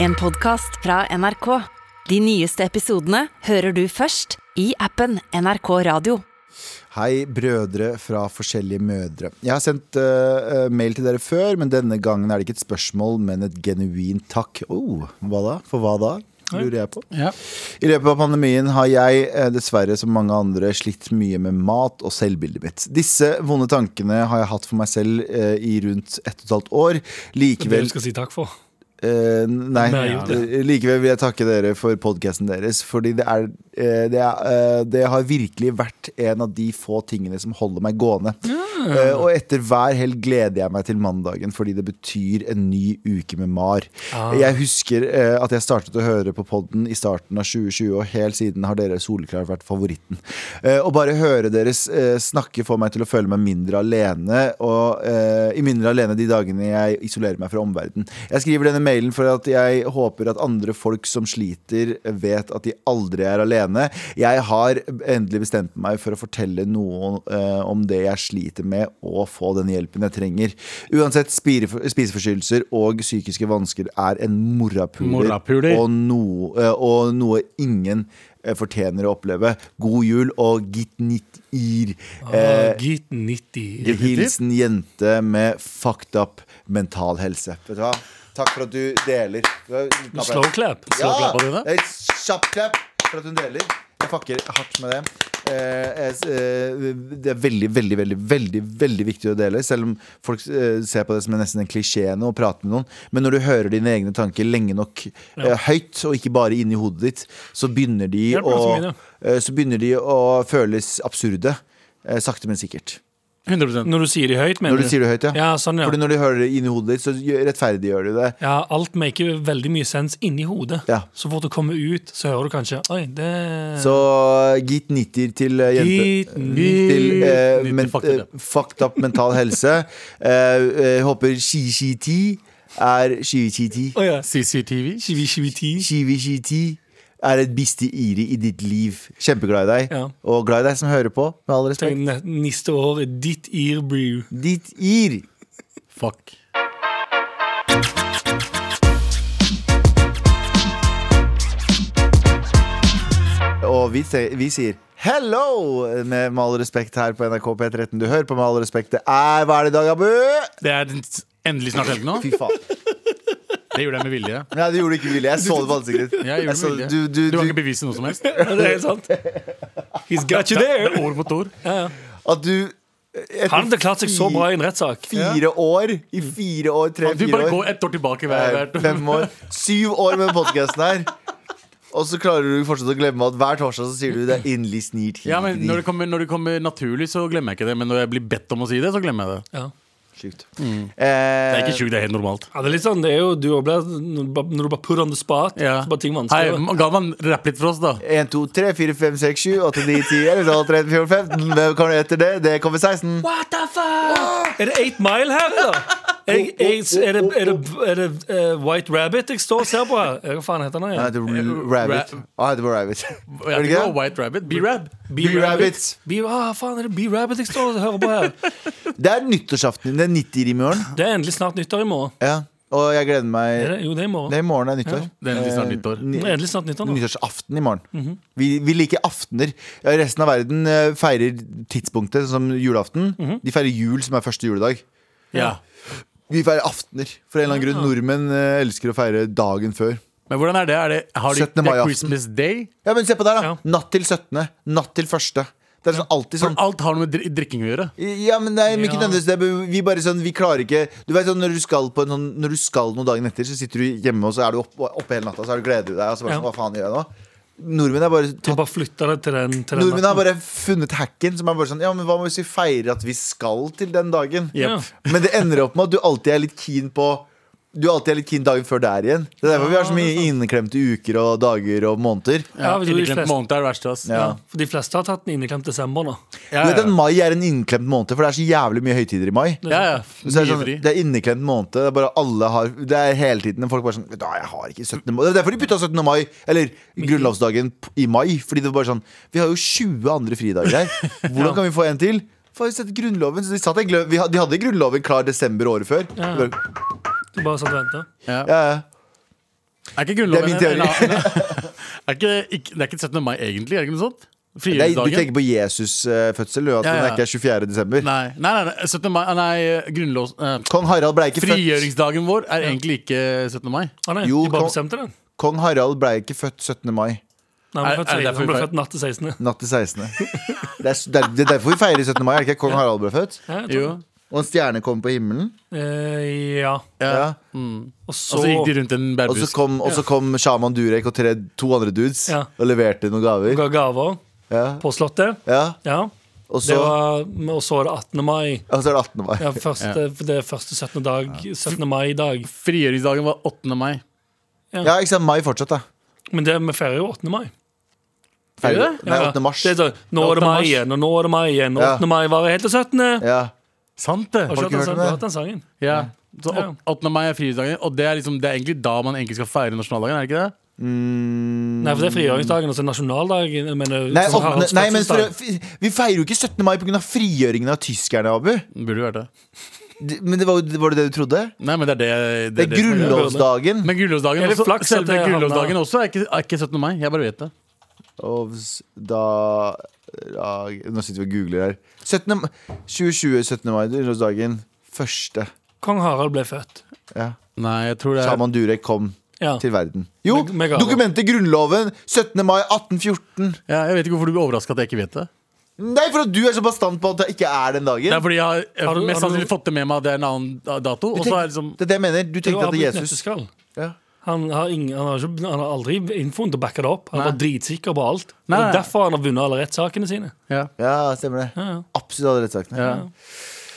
En podcast fra NRK. De nyeste episodene hører du først i appen NRK Radio. Hei, brødre fra forskjellige mødre. Jeg har sendt eh, eh, mail til dere før, men denne gangen er det ikke et spørsmål, men et genuint takk. Oh, hva da? For hva da? Lurer jeg på. Ja. I løpet av pandemien har jeg, eh, dessverre som mange andre, slitt mye med mat og selvbildet mitt. Disse vonde tankene har jeg hatt for meg selv eh, i rundt ett og et halvt år. Det Likevel du skal si takk for. Eh, nei, Nei, jo, eh, likevel vil jeg takke dere for podkasten deres. Fordi det, er, eh, det, er, eh, det har virkelig vært en av de få tingene som holder meg gående. Eh, og etter hver helg gleder jeg meg til mandagen, fordi det betyr en ny uke med MAR. Ah. Jeg husker eh, at jeg startet å høre på podden i starten av 2020, og helt siden har dere soleklart vært favoritten. Eh, og bare høre deres eh, snakke får meg til å føle meg mindre alene, og eh, i mindre alene de dagene jeg isolerer meg fra omverdenen. Jeg skriver denne mailen for at jeg håper at andre folk som sliter, vet at de aldri er alene. Jeg har endelig bestemt meg for å fortelle noe eh, om det jeg sliter med, og få den hjelpen jeg trenger. Uansett, spire- spiseforstyrrelser og psykiske vansker er en morapuler, Morapuler. Og, noe, eh, og noe ingen eh, fortjener å oppleve. God jul og git nit ir. Eh, Git 90. Hilsen jente med fucked up mental helse. Vet du hva? Takk for at du deler. Slow clap. Slow clap Ja! Eh, Kjapp clap for at hun deler. Jeg fucker hardt med det. Eh, jeg, eh, det er veldig, veldig veldig, veldig veldig viktig å dele, selv om folk eh, ser på det som en- nesten en klisjé nå, å prate med noen. Men når du hører dine egne tanker lenge nok eh, høyt, og ikke bare inni hodet ditt, så begynner de, Hjelper det så å, mye, eh, så begynner de å føles absurde. Eh, sakte, men sikkert. 100 Når du sier det høyt, mener Når du sier det høyt, ja. Ja, sånn, ja. Fordi når du hører det inni hodet ditt, så gjør- rettferdiggjør du det. ja. Alt maker veldig mye sens inni hodet. Ja. Så fort du kommer ut, så hører du kanskje Oi, det Så gitt nitter til eh, jente Gitt nitter. Til eh, Nitter, men, fucked eh, fucked up mental helse. Eh, eh, håper shi-shi-ti er shi-shi-ti. Å ja. CCTV. Shivi, shivi, ti. Shi-shi-ti er et biste iri i ditt liv. Kjempeglad i deg. Ja. Og glad i deg som hører på, med all Tenk, respekt. ne- Neste år er ditt ear brew. Ditt ir. Fuck. Og vi, se- vi sier hello med, med all respekt her på NRK P13. Du hører på med all respekt. Det er Hva er det i dag, Abu? Det er den- endelig snart helg nå. Fy faen. Det gjorde jeg med vilje. Nei, det gjorde du ikke villig. Jeg så det på ansiktet ditt. Jeg gjorde Jeg så- med vilje. Altså, du, du, Du kan du, ikke bevise noe som helst. Ja, Det er sant. He's got you Det there. er ord mot ord. at du eh, etter Han hadde klart seg så bra i en rettssak. fire år I fire år, Du tre-fire bare år, går ett år tilbake hver eh, hvert fem år Syv år med podkasten her. Og så klarer du fortsatt å glemme at hver torsdag så sier du det er inderlig snirt hit ja, men dit. når det, kommer, når det kommer naturlig, så glemmer jeg ikke det. Men når jeg blir bedt om å si det, så glemmer Eh, jeg det. Ja. Sjukt. Mm. Det er Eh, ikke sjukt, det er helt normalt. Ja, det er litt sånn, det er jo du også blir- Når du bare- når du bare put on the spot, Ja. så bare ting Hei, vanskeligere. Galvan, rapp litt for oss, da. 1, 2, 3, 4, 5, 6, 7, 8, 9, 10, 11, 12, 13, 14, 15 Hvem kommer etter det? Det kommer 16 What the fuck? Ah! Er det Eight Mile her, eller? Jeg, jeg, er det, er det, er det eh, White Rabbit jeg står og ser på her? Hva faen heter han Han igjen? heter Rabbit Eh, Ra- Han heter Rabbit Er Jeg det ikke tror det var det? White Rabbit. B-rap. B-Rabbit B ah, faen, er det B-Rabbit jeg står og hører på her? Det er nyttårsaften Det er 90 i morgen Det er endelig snart nyttår i morgen. Ja, og jeg gleder meg Er det? Jo, det er i morgen. Det er i morgen det er nyttår. Det er endelig snart nyttår. Eh, ny- Det er endelig snart nyttår nå. Mhm. Nyttårsaften i morgen. vi, vi liker aftener. Ja, resten av verden eh, feirer tidspunktet, sånn som julaften. Mhm. De feirer jul, som er første juledag. Ja. Vi feirer aftener. For en eller annen grunn Nordmenn eh, elsker å feire dagen før. Men hvordan er det? Er det, har de, 17. det mai er aften. Christmas Day? Ja, men se på der, da! Ja. Natt til 17., natt til 1. Det er sånn, alltid For sånn alt har noe med dri- drikking å gjøre. Ja, men nei, men ikke Ja. nødvendigvis det. men Vi bare sånn, vi klarer ikke Du vet sånn, når du skal på en sånn Når du skal noen dagen etter, så sitter du hjemme, og så er du opp- oppe hele natta, så er du gleder du deg, og så bare sånn, Ja. hva faen gjør jeg nå? Nordmenn er bare Jeg bare flytter det til den. Til den Nordmenn har bare funnet hacken som er bare sånn Ja, men hva må vi feire at vi skal til den dagen? Ja. Men det ender opp med at du alltid er litt keen på Du alltid er litt keen dagen før der igjen. Det er derfor vi har så mye inneklemte uker og dager og måneder. Ja, Ja, men du er Inneklemt flest. måned er det verste, ass. Ja. For de fleste har tatt den inneklemt desember nå. Ja, Du ja. vet at mai er en inneklemt måned, for det er så jævlig mye høytider i mai. ja, ja. Så det, er Mye sånn, fri. det er inneklemt måned. Det er bare alle har Det er hele tiden folk bare sånn Da, jeg har ikke 17. mai. Det er derfor de putta 17. mai, eller grunnlovsdagen, p- i mai. Fordi det var bare sånn Vi har jo 20 andre fridager her. Hvordan kan vi få en til? Får vi sette grunnloven Så de, satt egentlig, vi had- de hadde grunnloven klar desember året før. Ja. De Bare, Du bare satt og ventet. Ja. ja, ja. Er ikke Grunnloven Det er min en- en- er ikke, ikke, Det er ikke 17. mai, egentlig? Er det ikke noe sånt? Det er, du Frigjøringsdagen? tenker på Jesus' eh, fødsel, du, at Ja, ja. den er ikke er 24. desember. Nei, nei, nei, nei, 17. mai, nei grunnlov, eh, Kong Harald ble ikke født Frigjøringsdagen vår er egentlig ikke 17. mai. Å Ah, nei, Jo, de bare kom- bestemte den. Kong Harald ble ikke født 17. mai. Nei, han ble Er- er født, det 16. derfor han ble vi feirer- født natt til 16. Natt til 16. Det er, s- det er, det er derfor vi feirer 17. mai. Er det ikke kong Harald ble født? Ja, jeg tror Jo. Og en stjerne kom på himmelen. det. Eh, ja. Ja. Og så, Og så gikk de rundt en Og så bærbusk. kom, og så kom Shaman Durek og tre, to andre dudes Ja. og leverte noen gaver. ga gaver Ja. på Slottet. Ja. Ja. Og, Det så, var, og så var det 18. mai. og så er det 18. mai. Ja, første, Det er første 17. dag 17. mai-dag. Frigjøringsdagen var 8. mai. Ja, ikke sant. Mai fortsatt, da. Men det, vi feirer jo 8. mai. Feirer- det? Nei, Ja, 8. mars. Det er sånn, nå er 8. det mai mars. igjen, og nå er det mai igjen. og Ja. 8. mai varer helt til 17. Ja. Sant det! Har du Har ikke ikke hørt om hørt den sangen? Du det? har hørt den sangen? Ja. Så Ja. 8. mai er frigjøringsdagen, og det er, liksom, det er egentlig da man egentlig skal feire nasjonaldagen, er det ikke det? Nei, for det er frigjøringsdagen, altså nasjonaldagen. Jeg mener, Nei, som åttende- Haralds nei, men for, fødselsdag. vi feirer jo ikke 17. mai pga. frigjøringen av tyskerne, Abu. Burde vært det. D- Men det var, jo- var det det du trodde? Nei, men det er det Det er det som greia. grunnlovsdagen. Men grunnlovsdagen Er det også, flaks at selve det havna- grunnlovsdagen også er ikke, er ikke 17. mai. Jeg bare vet det. Og s- da, da Nå sitter vi og googler her. 17. mai- 2020, 17. mai, grunnlovsdagen. Første. Kong Harald ble født. Ja. Nei, jeg tror det er Shaman Durek kom Ja. til verden. Jo, Meg- Megalo. dokumentet Grunnloven 17. mai 1814. ja, Jeg vet ikke hvorfor du blir overraska at jeg ikke vet det. Nei, for at du er så bastant på at det ikke er den Det er dagen. fordi jeg har, jeg Har du- har har mest du- sannsynlig fått det med meg at det er en annen dato. Du Og så er det liksom det er det jeg mener. Du Det tenkte var at det er Abid Jesus. Nøtteskall. Ja. Han har, ingen, han, har ikke, han har aldri infoen til å backe det opp. Han Nei. var dritsikker på alt. Nei, Det er nei. derfor han har vunnet alle rettssakene sine. ja, ja, stemmer det. Ja, ja. Absolutt alle rettssakene. ja.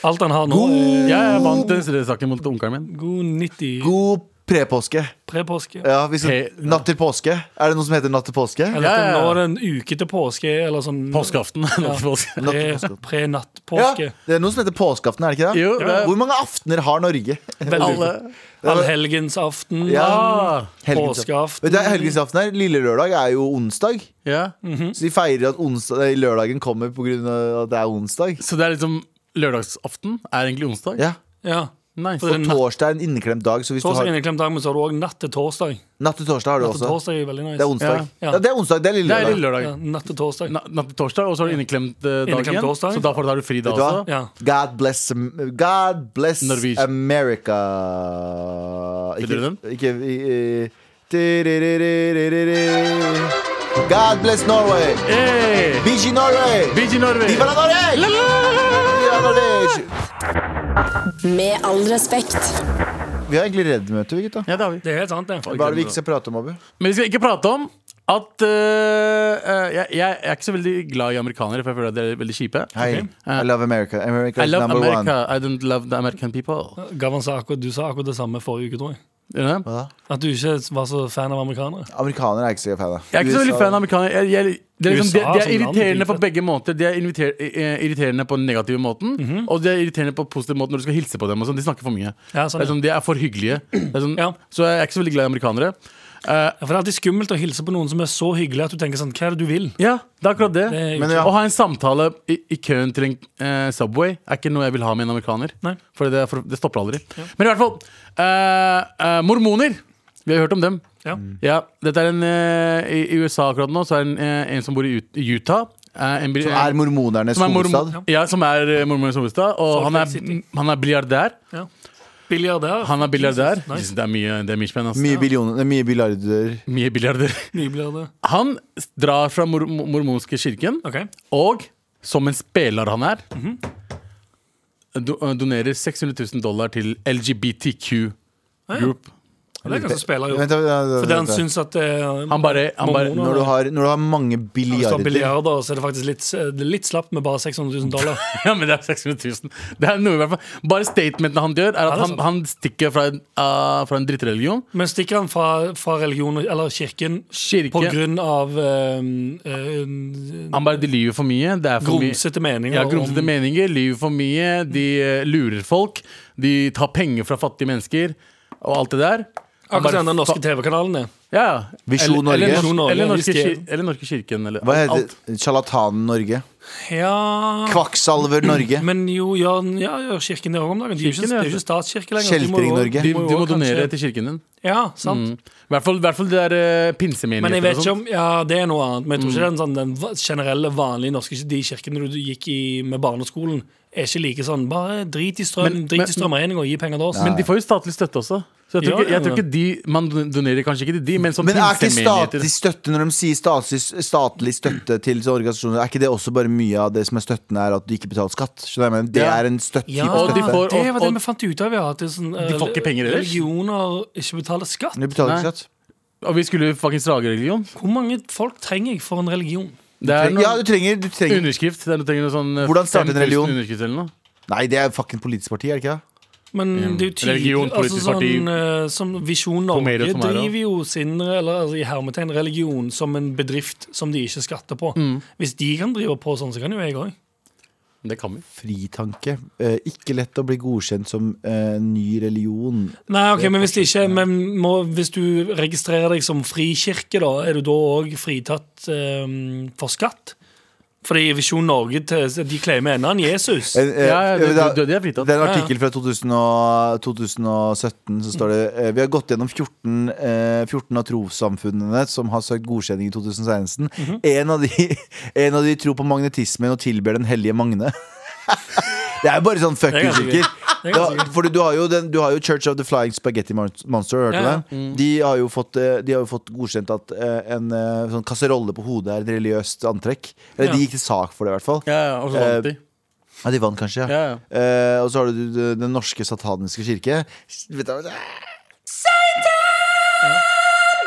Alt han har nå, er Jeg vant den større saken mot onkelen min. god 90 God prepåske. pre-påske. Ja, hvis Hey, Natt til påske. Er det noe som heter natt til påske? Eller Ja, ja, ja. nå er det en uke til påske, eller sånn Påskeaften. Påske. Natt til påske. Ja, Pre-natt-påske. det er noe som heter påskeaften, er det ikke det? Jo, det er Hvor mange aftener har Norge? alle Allhelgensaften. Ja. Vet Påskeaften. du, Helgensaften her, Lille lørdag er jo onsdag. ja. Mm. Så de feirer at onsdag, nei, lørdagen kommer pga. at det er onsdag. Så det er liksom lørdagsaften er egentlig onsdag? Ja. Ja. Nei. For det er Og natt- torsdag er en inneklemt dag. Så hvis du Torsdag har, er en klemt dag, men så har du òg natt til torsdag. natt til torsdag har du Natt til også. torsdag er veldig nice. Det er onsdag. Ja. Ja, det er onsdag, det er lille Det er lørdag. lille Ja, lørdag. natt til torsdag. Na- Natt til torsdag, og så har du inneklemt eh, Inneklemt dagen. torsdag. Så da får du- da har du fri da Vet du hva? også. Ja. God bless, Am- God bless Norwegian. America. Vil dere den? ikke i- i- Tiriririririri. God bless Norway! Hey! Bishi Norway! Bigi Norway! Viva la Norge! Viva Norge! Med all respekt. Vi har egentlig reddmøte, vi, gutta. Ja, det har vi. Det er helt sant, det. Hva er det vi ikke skal prate om, Abu? Men vi skal ikke prate om at øh, øh, jeg, jeg er ikke så veldig glad i amerikanere, for jeg føler at de er veldig kjipe. Hei. I love America. America I is love number America. one. I don't love the American people. Gavan sa akkurat, du sa akkurat det samme forrige uke, tror jeg. You know? Hva da? At du ikke var så fan av amerikanere. Amerikanere er jeg ikke så fan av. Jeg er ikke så veldig USA- fan av amerikanere. Jeg, jeg, det er liksom, USA som de, de er land, irriterende på kjipe. begge måter. De er inviter- eh, irriterende på den negative måten, Mhm. og de er irriterende på den positive måten når du skal hilse på dem. Og sånn. de snakker for mye. Ja, sånn, det er sånn, de er for hyggelige. Det er sånn, Ja. Så jeg er ikke så veldig glad i amerikanere. Eh, Ja, for Det er alltid skummelt å hilse på noen som er så hyggelig at du tenker sånn Hva er det du vil? ja, det er akkurat det. Det er jo Men ikke- ja. Å ha en samtale i, i køen til en eh, Subway er ikke noe jeg vil ha med en amerikaner. Nei. Fordi det, er for, det stopper aldri. Men i hvert fall eh, eh, Mormoner! Vi har hørt om dem. Ja. Ja, dette er en eh, I i USA akkurat nå så er det en, eh, en som bor i Ut- i Utah. eh, en, bri- Som er mormonernes som er mormon- hovedstad. Ja, som er eh, mormonernes hovedstad. Salt Og han Lake er, City. han er biljardær. Ja. Biljardær. Han er biljardær. Jesus, nice. Det er mye, det er mye spenn, ass. Mye, billioner, eh, mye biljarder. Mye biljarder. Nybiljardær. Han s- drar fra mor mor- mormonske kirken. OK. Mhm. Og som en spiller han er, do, eh, donerer 600 000 dollar til LGBTQ Ja, ja. Group. Det er ganske spiller, Vent, jo. da, da, da, Fordi han vent da. syns at eh, Han bare, han bare Mormoner. når, du har, når du har mange Hvis du har biljarder biljarder, så er det faktisk litt, det er litt slapt med bare 600 000 dollar. Ja, men det er 600 000. Det er noe i hvert fall. Bare statementene han gjør, er det at er han, sant. han stikker fra en, eh, fra en drittreligion. Men stikker han fra, fra religion, eller kirken, Kirke. på grunn av ehm, eh, Han bare, de lyver for mye. Det er for mye. grumsete meninger Ja, grumsete om meninger, lyver for mye, de eh, lurer folk. De tar penger fra fattige mennesker og alt det der. Akkurat som den fa- norske TV-kanalen er. Ja, ja. Visjon Eller- Norge. Eller, Visjon Norge, eller, norske, Visjon. kir- eller norske kirken. Eller, Hva alt. heter det? Sjarlatanen Norge? Ja Kvakksalver Norge? Men jo, gjør ja, gjør kirken det òg om dagen? De er jo ikke, Kirken, det ja. er jo ikke statskirke lenger. de må jo Kjeltring-Norge. også- De, de du jo må også donere kanskje- til kirken din. Ja, sant. Mm. I hvert fall, i hvert fall det er uh, Men jeg pinsemenigheten vet og ikke sånn. om Ja, det er noe annet. Men jeg tror ikke den, sånn, den va- generelle, vanlige norske kir- De kirkene du gikk i med barneskolen, er ikke like sånn Bare drit i strøm, Men- drit men- i strømregning og gi penger til oss. Men de får jo statlig støtte også. Så jeg tror, Ja, ikke, jeg ja, tror ikke de Man donerer kanskje ikke til de, men som Men er ikke statlig pinsemenigheter. støtte når de sier statlig, statlig støtte til sånne organisasjoner Er ikke det også bare mye av det som er støtten, er at du ikke betaler skatt? Skjønner jeg, men det Ja. er en støtt Ja, type Og de støtte. får- det var det og- vi fant ut av, ja. At det er sånn, De får ikke penger ellers? Religioner ikke betaler skatt. Du betaler Nei. ikke skatt? Og vi skulle fuckings lage religion. Hvor mange folk trenger jeg for en religion? Det er noe Ja, du trenger, du trenger underskrift. Det er, du trenger noe sånn eh, Hvordan starte en 5000 religion? underskrift eller noe. Nei, det er fucking politisk parti, er det ikke det? Men det er jo tydelig Religion, altså, politisk sånn, parti. eh, som Visjon Norge Tomato, tomato. driver jo sin eller, altså, i hermetegn religion som en bedrift som de ikke skatter på. Hvis de kan drive på sånn, så kan jo jeg òg. Det kan vi. Fritanke. Eh, ikke lett å bli godkjent som eh, ny religion. Nei, ok, men hvis, det ikke, men må, hvis du registrerer deg som frikirke, da, er du da òg fritatt eh, for skatt? Fordi Visjon Norge til, de claimer ennå en Jesus. En, eh, Ja, ja, det, da- det, det er fritatt. Det er en artikkel fra 2000 og, 2017 Så står det eh, Vi har gått gjennom 14, eh, 14 av trossamfunnene Som har søkt godkjenning i 2016 en, av de, en av de tror på magnetismen Og tilber den hellige Magne Det er jo bare sånn fuck Det er you ganske sikker Det er ganske Da- Fordi du har, jo den, du har jo Church of the Flying Spaghetti Mon- Monster har du hørt Ja, Mm. ja. om den? De har jo fått, eh, de har jo fått godkjent at eh, En eh, sånn kasserolle på hodet er et religiøst antrekk Eller Ja. de gikk til sak for det i hvert fall Ja, ja, og så Eh, vant de. Ja, de vant kanskje Ja, ja. Eh, og så har du du- Den norske sataniske kirke. Vet du hva det er?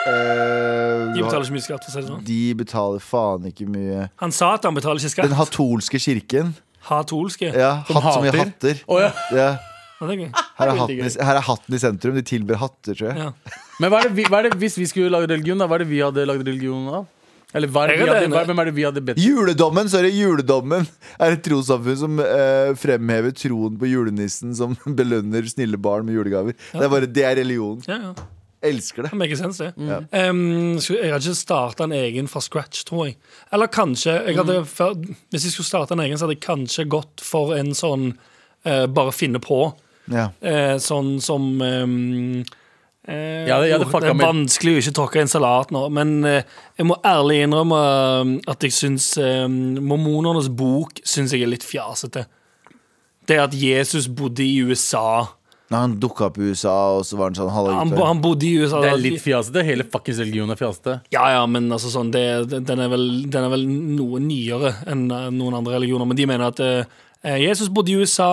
Eh, De betaler ikke mye skatt. for å si det sånn. de betaler faen ikke mye. Han sa at han betaler ikke Den skatt. hatolske kirken. Hatolske. Ja, Som hatt så mye hater. hatter. Å, ja. Ja, Ja, det er gøy. her, er Det er hatten, veldig i- her er hatten i sentrum. De tilber hatter, tror jeg. Ja. Men hva er, det vi, hva er det hvis vi skulle lage religion, da? Hva er det vi hadde lagd religion av? Eller hva er det Jeg vi er hadde, enig. hva, hvem er det vi hadde bedt Juledommen sorry, juledommen er et trossamfunn som eh, fremhever troen på julenissen som belønner snille barn med julegaver. Det er bare, det er religion. Ja, ja. Elsker det. Det make sense, det. Mm. Um, så jeg hadde ikke starta en egen fra scratch, tror jeg. Eller kanskje jeg hadde, Mm. før- Hvis jeg skulle starte en egen, så hadde jeg kanskje gått for en sånn eh, bare finne på. Ja. Eh, sånn som um, eh, Ja, jeg hadde oh, fucka det er med- vanskelig å ikke tråkke i en salat nå, men eh, jeg må ærlig innrømme eh, at jeg syns eh, Mormonernes bok syns jeg er litt fjasete. Det at Jesus bodde i USA. Når han dukka opp i USA, og så var han sånn halv Han, han bodde i USA. Det da- er litt fjasete. Hele fuckings religion er fjasete. Ja, ja, men altså sånn, det, den, er vel, den er vel noe nyere enn eh, noen andre religioner. Men de mener at eh, Jesus bodde i USA,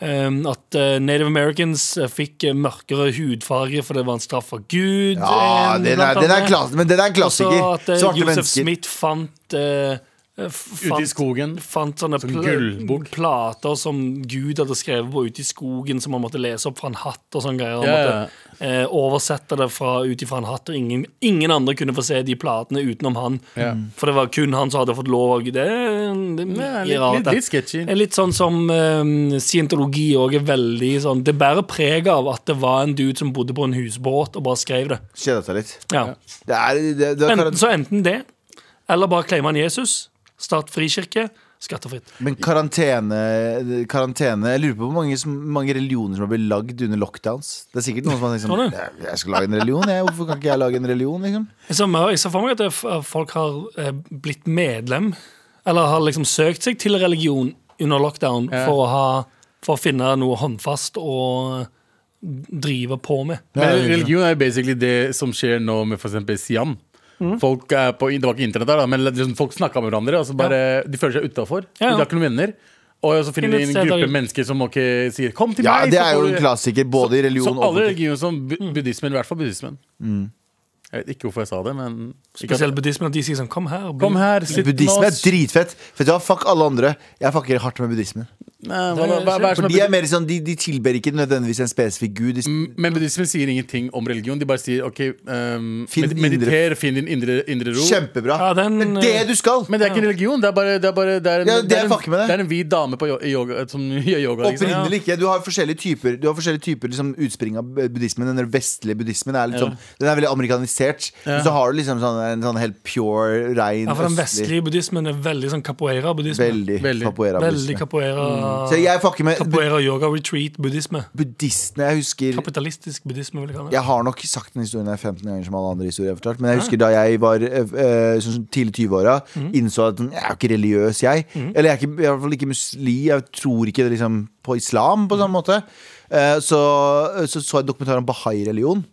eh, at eh, Native Americans eh, fikk eh, mørkere hudfarge for det var en straff fra Gud. Ja, eh, den er, blant den er annet. klass, men den er en Også klassiker. at eh, Svarte Joseph mennesker. Smith fant eh, f- Ute i fant- skogen. Fant sånne Sånn pl gullbok. plater som Gud hadde skrevet på ute i skogen, som han måtte lese opp fra en hatt og sånne greier. Han Ja, ja. måtte eh, oversette det fra, ut ifra en hatt, og ingen, ingen andre kunne få se de platene utenom han. Mm. Ja. For det var kun han som hadde fått lov. og Det, det, det Ja, er litt, rart, litt, det. litt sketchy. Det er Litt sånn som eh, scientologi òg er veldig sånn Det bærer preg av at det var en dude som bodde på en husbåt og bare skrev det. Kjeda seg litt. Ja. Det er, det, det er, Enten, så enten det, eller bare claime han Jesus. Start frikirke. Skattefritt. men karantene, karantene Jeg lurer på hvor mange, som, mange religioner som har blitt lagd under lockdowns. Det er sikkert noen som har tenkt Tror sånn du? "Jeg- Jeg skal lage en religion, jeg. Hvorfor kan ikke jeg lage en religion? Liksom? Jeg ser, jeg ser for meg at det er f- folk har eh, blitt medlem, eller har liksom søkt seg til religion under lockdown Ja. for, å ha, for å finne noe håndfast å drive på med. Men Ja, religion er jo basically det som skjer nå med for eksempel Siam. Mm. Folk er på, det var ikke internett der, da, men liksom folk snakka med hverandre. Og så bare, De føler seg utafor. Ja, ja. De har ikke noen venner. Og så finner Finner de et en sted gruppe der- mennesker som ok, sier 'kom til Ja, meg'. det så er jo får en du- klassiker både i Så religion Mm. og alle politikk. religioner som Mm. bu- buddhismen, i hvert fall buddhismen. Jeg vet ikke hvorfor jeg sa det, men ikke at- Spesielt buddhismen, at de sier sånn Kom her. og bli- Kom her, sitt med Buddhisme er oss. dritfett. Vet du hva, Fuck alle andre. Jeg fucker hardt med buddhismen. Nei, hva, hva, hva, hva er det som For er de er mer sånn, de, de tilber ikke nødvendigvis en spesifikk gud. De, Mm, Men buddhismen sier ingenting om religion. De bare sier OK, ehm, Finn din med- indre- mediter, finn din indre, indre ro. kjempebra! Ja, den, det er det du skal! eh, Men det er ikke en religion. Det er bare, det er bare det er en, Ja, det er en, fuck med det. er en hvit dame på yo- i yoga, som gjør yoga. Liksom. Opprinnelig ikke. Du har forskjellige typer, du har forskjellige typer liksom, utspring av buddhismen. Den vestlige buddhismen er, litt sånn- den er veldig amerikanisert. Men så har du liksom sånn, en sånn helt pure, rein Ja, for den østlig vestlige buddhismen er veldig sånn capoeira-buddhisme. Veldig, Veldig. Veldig capoeira-buddhisme. capoeira Så jeg fucker med bu- Capoeira-yoga-retreat-buddhisme. buddhistene. Jeg husker Kapitalistisk buddhisme, vil jeg kalle det. jeg har nok sagt den historien her 15 ganger som alle andre historier jeg har fortalt, men jeg husker da jeg var eh, eh, sånn som tidlig 20-åra, innså at sånn, jeg er jo ikke religiøs, jeg. Eller jeg er ikke, i hvert fall ikke muslim, jeg tror ikke liksom, på islam på samme måte. Eh, så, så så jeg dokumentaren om bahai-religion,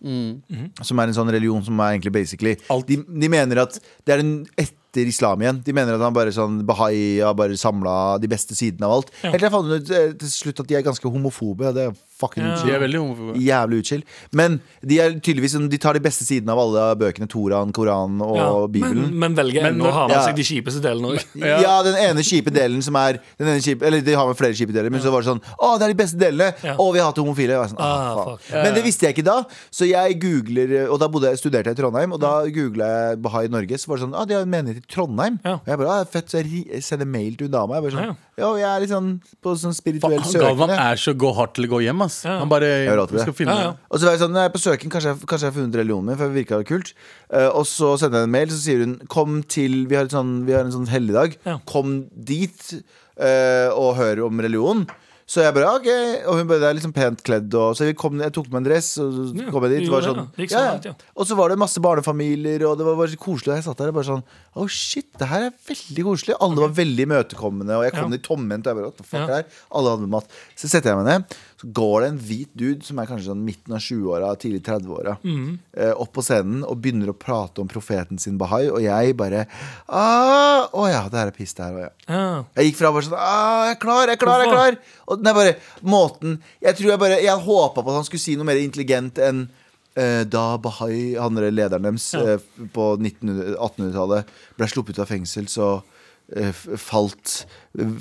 som er en sånn religion som er egentlig basically Alt. de, de mener at det er en etter islam igjen. De mener at han bare sånn Bahai har bare samla de beste sidene av alt. Helt til jeg fant ut eh, til slutt at de er ganske homofobe. og Det er fucking Ja. ja. De er veldig homofobe. Jævlig utskill. Men de er tydeligvis sånn, De tar de beste sidene av alle bøkene. Toraen, Koranen og Ja, Bibelen. Men, men velger Men ennå å ha med ja. seg de kjipeste delene òg. ja. den ene kjipe delen som er den ene kjipe, Eller de har med flere kjipe deler, men så var det sånn Å, det er de beste delene! Ja. Å, vi har hatt homofile! Jeg var Sånn, ah, Ah, faen. fuck. Men det visste jeg ikke da, så jeg googler Og da bodde jeg, studerte jeg i Trondheim, og da googla jeg Bahai Norge, så var det sånn Å, de har en menighet i Trondheim! Ja. Og jeg bare ah, Fett, så jeg ri- sender mail til hun dama. Jeg bare Ja, sånn Jo, jeg er litt sånn på sånn spirituell Galvan søkende. er så gå hardt til å gå hjem, ass. Ja. Han bare har råd til skal det. finne Ja, ja. Og så var jeg sånn, når jeg er på søken, kanskje jeg, kanskje jeg har funnet religionen min, for det virka kult. Eh, og så sendte jeg en mail, så sier hun kom til Vi har, et sånn, vi har en sånn helligdag. Ja. Kom dit eh, og hør om religionen. Så jeg bare, ok Og hun bare, det er liksom pent kledd og, Så jeg, kom, jeg tok med en dress Og så Ja, kom jeg dit du det var gjorde sånn, det, ja. Det gikk så langt, ja. Og så var det masse barnefamilier Og det var bare så koselig Og jeg satt der og bare sånn Oh shit, det her er veldig koselig Alle var veldig møtekommende Og jeg kom Ja. dit tomhendt, Og jeg bare, what the fuck Ja. er det her Alle hadde med mat Så setter jeg meg ned Så går det en hvit dude Som er kanskje sånn midten av 20-åra Tidlig 30-åra Mhm. eh, Opp på scenen Og begynner å prate om profeten sin Bahai Og jeg bare «Ah, Å ja, det her er piss det her Å ja Ja. jeg gikk fra bare sånn «Ah, Jeg er klar, jeg er klar, jeg er klar. Og den er bare måten Jeg tror jeg bare Jeg håpa på at han skulle si noe mer intelligent enn eh, da Bahai, han der lederen deres, eh, på 1900 1800-tallet ble sluppet ut av fengsel, så eh, f- falt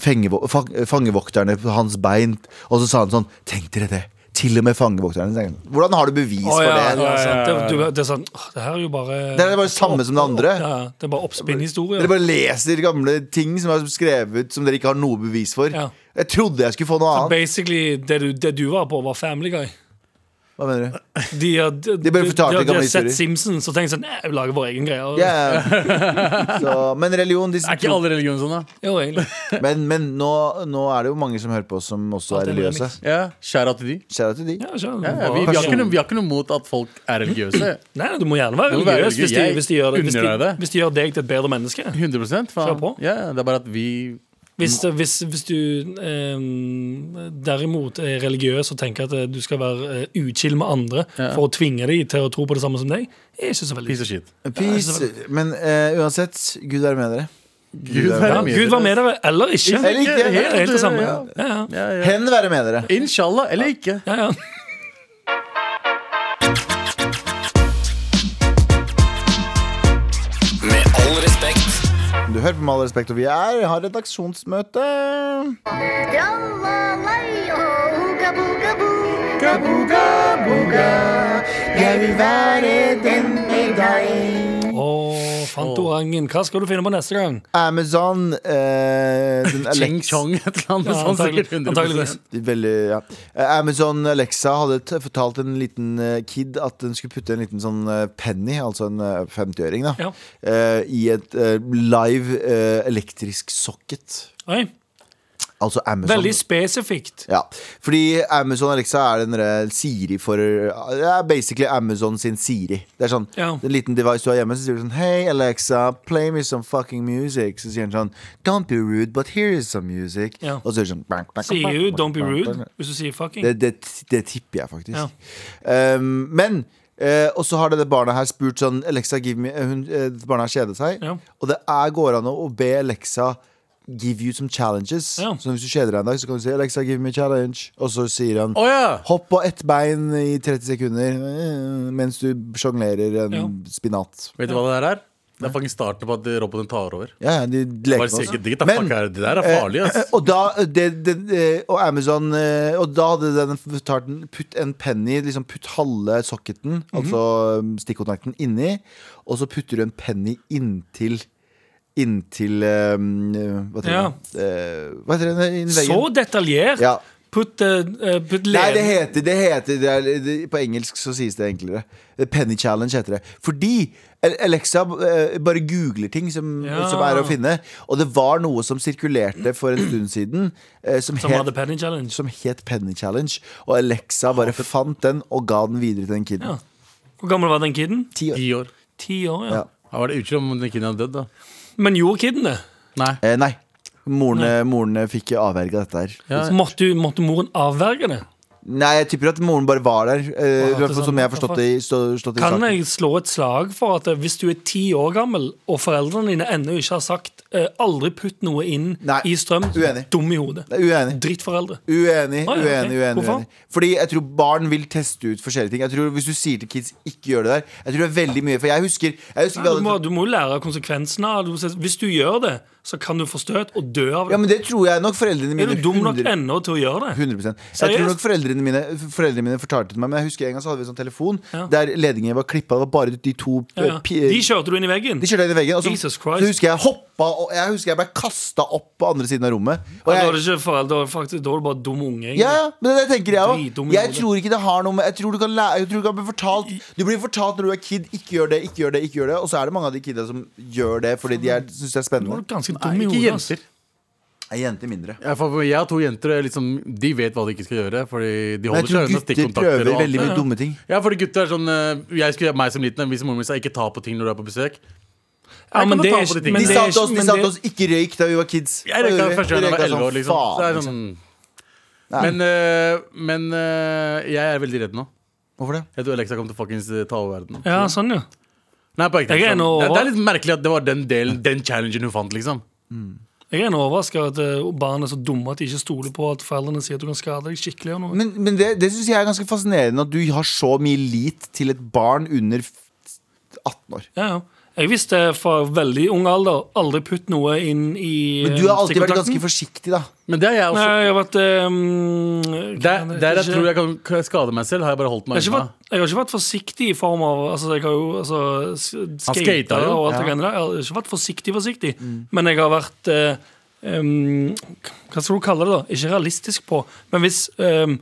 fengevo- fang- eh, fangevokterne på hans bein. Og så sa han sånn Tenk dere det. Til og med fangevokterne. tenker han. Hvordan har du bevis Å, for ja, det? ja, sant. ja, ja. Det, du, det er sånn åh, Det her er jo bare Det er bare det samme som det andre. Ja, det er bare oppspinnhistorie. Dere bare leser gamle ting som er skrevet som dere ikke har noe bevis for. Ja. Jeg trodde jeg skulle få noe annet. Basically, det du, det du var på, var Family Guy. Hva mener du? De har, de, bare fortalte de, de gamle har sett historier. Simpsons og tenkt sånn "Nei, Vi lager vår egen greie. Og- Ja, ja. Så, men religion de, Er ikke alle religioner sånn, da? Jo, egentlig. Men, men nå, nå er det jo mange som hører på som også Alt er er religiøse. remix. Ja, Skjæra til de. Kjære til de. Ja, skjønner. Ja, ja, vi, vi, har ikke noe, vi har ikke noe mot at folk er religiøse. Nei, nei, du må gjerne være Du må være religiøs hvis de, religiøs. hvis, de gjør det, hvis, Unner deg de, det. hvis de gjør deg til et bedre menneske. 100 Kjør faen. på. Ja, ja, det er bare at vi Hvis, Mm. hvis, hvis du eh, derimot er religiøs og tenker at eh, du skal være eh, uchill med andre for å tvinge dem til å tro på det samme som deg, er ikke så veldig piece of shit. Peace. Men eh, uansett, Gud være med dere. Gud ja, være med Gud var med dere, eller ikke. Eller ikke, Det er helt det samme. ja. Ja, ja. Ja, ja. Hen være med dere. Inshallah, eller ikke. Ja, ja. Med all respekt. Du hører på Med all respekt, og vi er, har redaksjonsmøte. Jeg vil være den med deg. Å, Fantorangen. Hva skal du finne på neste gang? Amazon eh, den Ching Alexa- chong, et eller annet Ja, sånn antagelig- sikkert 100 antageligvis. De Veldig, ja. Eh, Amazon Alexa hadde t fortalt en liten eh, kid at den skulle putte en liten sånn eh, penny, altså en eh, 50-øring, da, Ja. eh, i et eh, live eh, elektrisk socket. Oi, Altså Amazon. veldig spesifikt. ja, fordi Amazon Alexa er den der eh, Siri for Det er basically Amazon sin Siri. Det er sånn, Ja. En liten device du har hjemme, så sier du sånn Hei, Alexa, play me some fucking music. Så sier den sånn Don't be rude, but here is some music. Ja. Og så er det sånn bang, bang, Sier bang, jo bang, 'don't be bang, rude' bang. hvis du sier 'fucking'. Det, det, det tipper jeg faktisk. Um, men eh, Og så har det det barnet her spurt sånn Alexa, give me eh, hun, eh, dette Barnet har kjedet seg. Ja. Og det er, går an å å be Alexa give you some challenges. Ja. Så hvis du kjeder deg en dag, så kan du si Alexa, give me a challenge. Og så sier han Å ja! Hopp på ett bein i 30 sekunder eh, mens du sjonglerer en Ja. spinat. Vet du hva det her er? Det er faktisk starten på at roboten tar over. Ja, ja, de Bare leker se med ikke oss. digg, da. Men- Fuck, er det der er farlig, Eh, ass. eh, Og, da, det, det, eh, og Amazon eh, Og da hadde den fortalt den, Putt en penny, liksom putt halve socketen Mhm. Altså eh, stikkontakten inni Og så putter du en penny inntil Inntil eh, Hva heter Ja. det? Eh, Hva heter det? Inn i veggen. Så detaljert! Ja. Putt, eh, eh, Nei, putt det leden heter, det heter det er, det, På engelsk så sies det enklere Eh, Penny challenge heter det Fordi Alexa eh, bare googler ting som, Ja. som er å finne Og det var noe som sirkulerte for en stund siden eh, Som, Som het, hadde Penny Challenge. som het Penny challenge Og Alexa bare fant den og ga den videre til den kiden Ja. Hvor gammel var den kiden? Ti år Ti år. Ti år, ja. Ja. Da var det utro om den kiden hadde dødd, da. Men gjorde kiden det? Nei. eh, Nei, moren, eh, moren fikk avverget dette her Ja. Så måtte, måtte moren avverge det? Nei, jeg tipper at moren bare var der eh, Wow, i hvert fall Som jeg har interessant. forstått det i, stå, stått i sånn Kan saken jeg slå et slag for at eh, hvis du er ti år gammel, og foreldrene dine ennå ikke har sagt eh, 'aldri putt noe inn Nei, i strøm', uenig. dum i hodet. Nei, Uenig Drittforeldre. Uenig, Ah, ja, uenig, ok. uenig, Hvorfor? uenig. Fordi jeg tror barn vil teste ut forskjellige ting. Jeg tror Hvis du sier til kids ikke gjør det der Jeg tror det er veldig mye For jeg husker, jeg husker vi Du hadde- sånn- må, du må jo lære konsekvensene. av det. Hvis du gjør det, så kan du få støt og dø av Ja, det. men det tror jeg nok foreldrene mine er du dum nok 100 ennå til å gjøre det? 100% Jeg tror Seriøst? nok foreldrene mine, foreldrene mine fortalte det til meg, men jeg husker en gang så hadde vi en sånn telefon Ja. der ledningen var klippa. Det var bare de to Ja, ja. eh, pi- De kjørte du inn i veggen. De kjørte inn i veggen, og så, Jesus så Christ. husker jeg hoppa og jeg husker jeg ble kasta opp på andre siden av rommet. Og Ja, da er det jeg, ikke foreldre, faktisk, da er det bare dum unge. egentlig. ja, ja, men det tenker jeg òg. Dritdum i Jeg hodet. tror ikke det har noe med Jeg tror du kan, lære, jeg tror du kan bli fortalt Du blir fortalt når du er kid, ikke gjør det, ikke gjør det, ikke gjør det. Og så er det mange av de kidda som gjør det fordi de er- syns det er Da er spennende. du ganske dum Nei, i ikke hodet. ass. jenter. Er jenter mindre. Ja, for jeg har to jenter, og jeg liksom, de vet hva de ikke skal gjøre. Fordi de Men holder jeg tror seg unna gutter stikkontakter. prøver og alt veldig det. mye dumme ting. Ja, fordi gutter er sånn eh, Jeg skulle gjøre meg som liten Hvis moren min sa ikke ta på ting når du er på besøk Ja, men Jeg kan det ta er på de ikke- tingene. men De det sa er til oss, ikke- de men sa det- til oss 'ikke røyk' da vi var kids. Jeg røyka Og vi første gang jeg var røyka 11 år liksom Så det er faen, det sånn Nei. Men, eh, men eh, jeg er veldig redd nå Hvorfor det? Jeg tror Alexa kommer til å fuckings eh, ta over verden nå. Ja, sånn, ja. Nei, på ekte Jeg er sånn. nå det, over. det er litt merkelig at det var den delen Den challengen hun fant liksom Jeg er overraska at eh, barn er så dumme at de ikke stoler på at foreldrene sier at du kan skade deg skikkelig. Og noe. Men, men det, det syns jeg er ganske fascinerende at du har så mye lit til et barn under f- 18 år. Ja, ja. Jeg visste fra veldig ung alder aldri putt noe inn i Men du har eh, alltid vært stikkontakten. ganske forsiktig, da. Men det er jeg Nei, også jeg har vært eh, mm, Der, kan der jeg ikke- tror jeg kan k- skade meg selv Har jeg bare holdt jeg meg har, ikke unna vært, jeg har ikke vært forsiktig i form av altså, Jeg har jo altså, s- Han skata skata jo. Mm. og alt det greiene der. Jeg har ikke vært forsiktig, forsiktig. Men jeg har vært eh, em, Hva skal du kalle det, da? Ikke realistisk på. Men hvis um,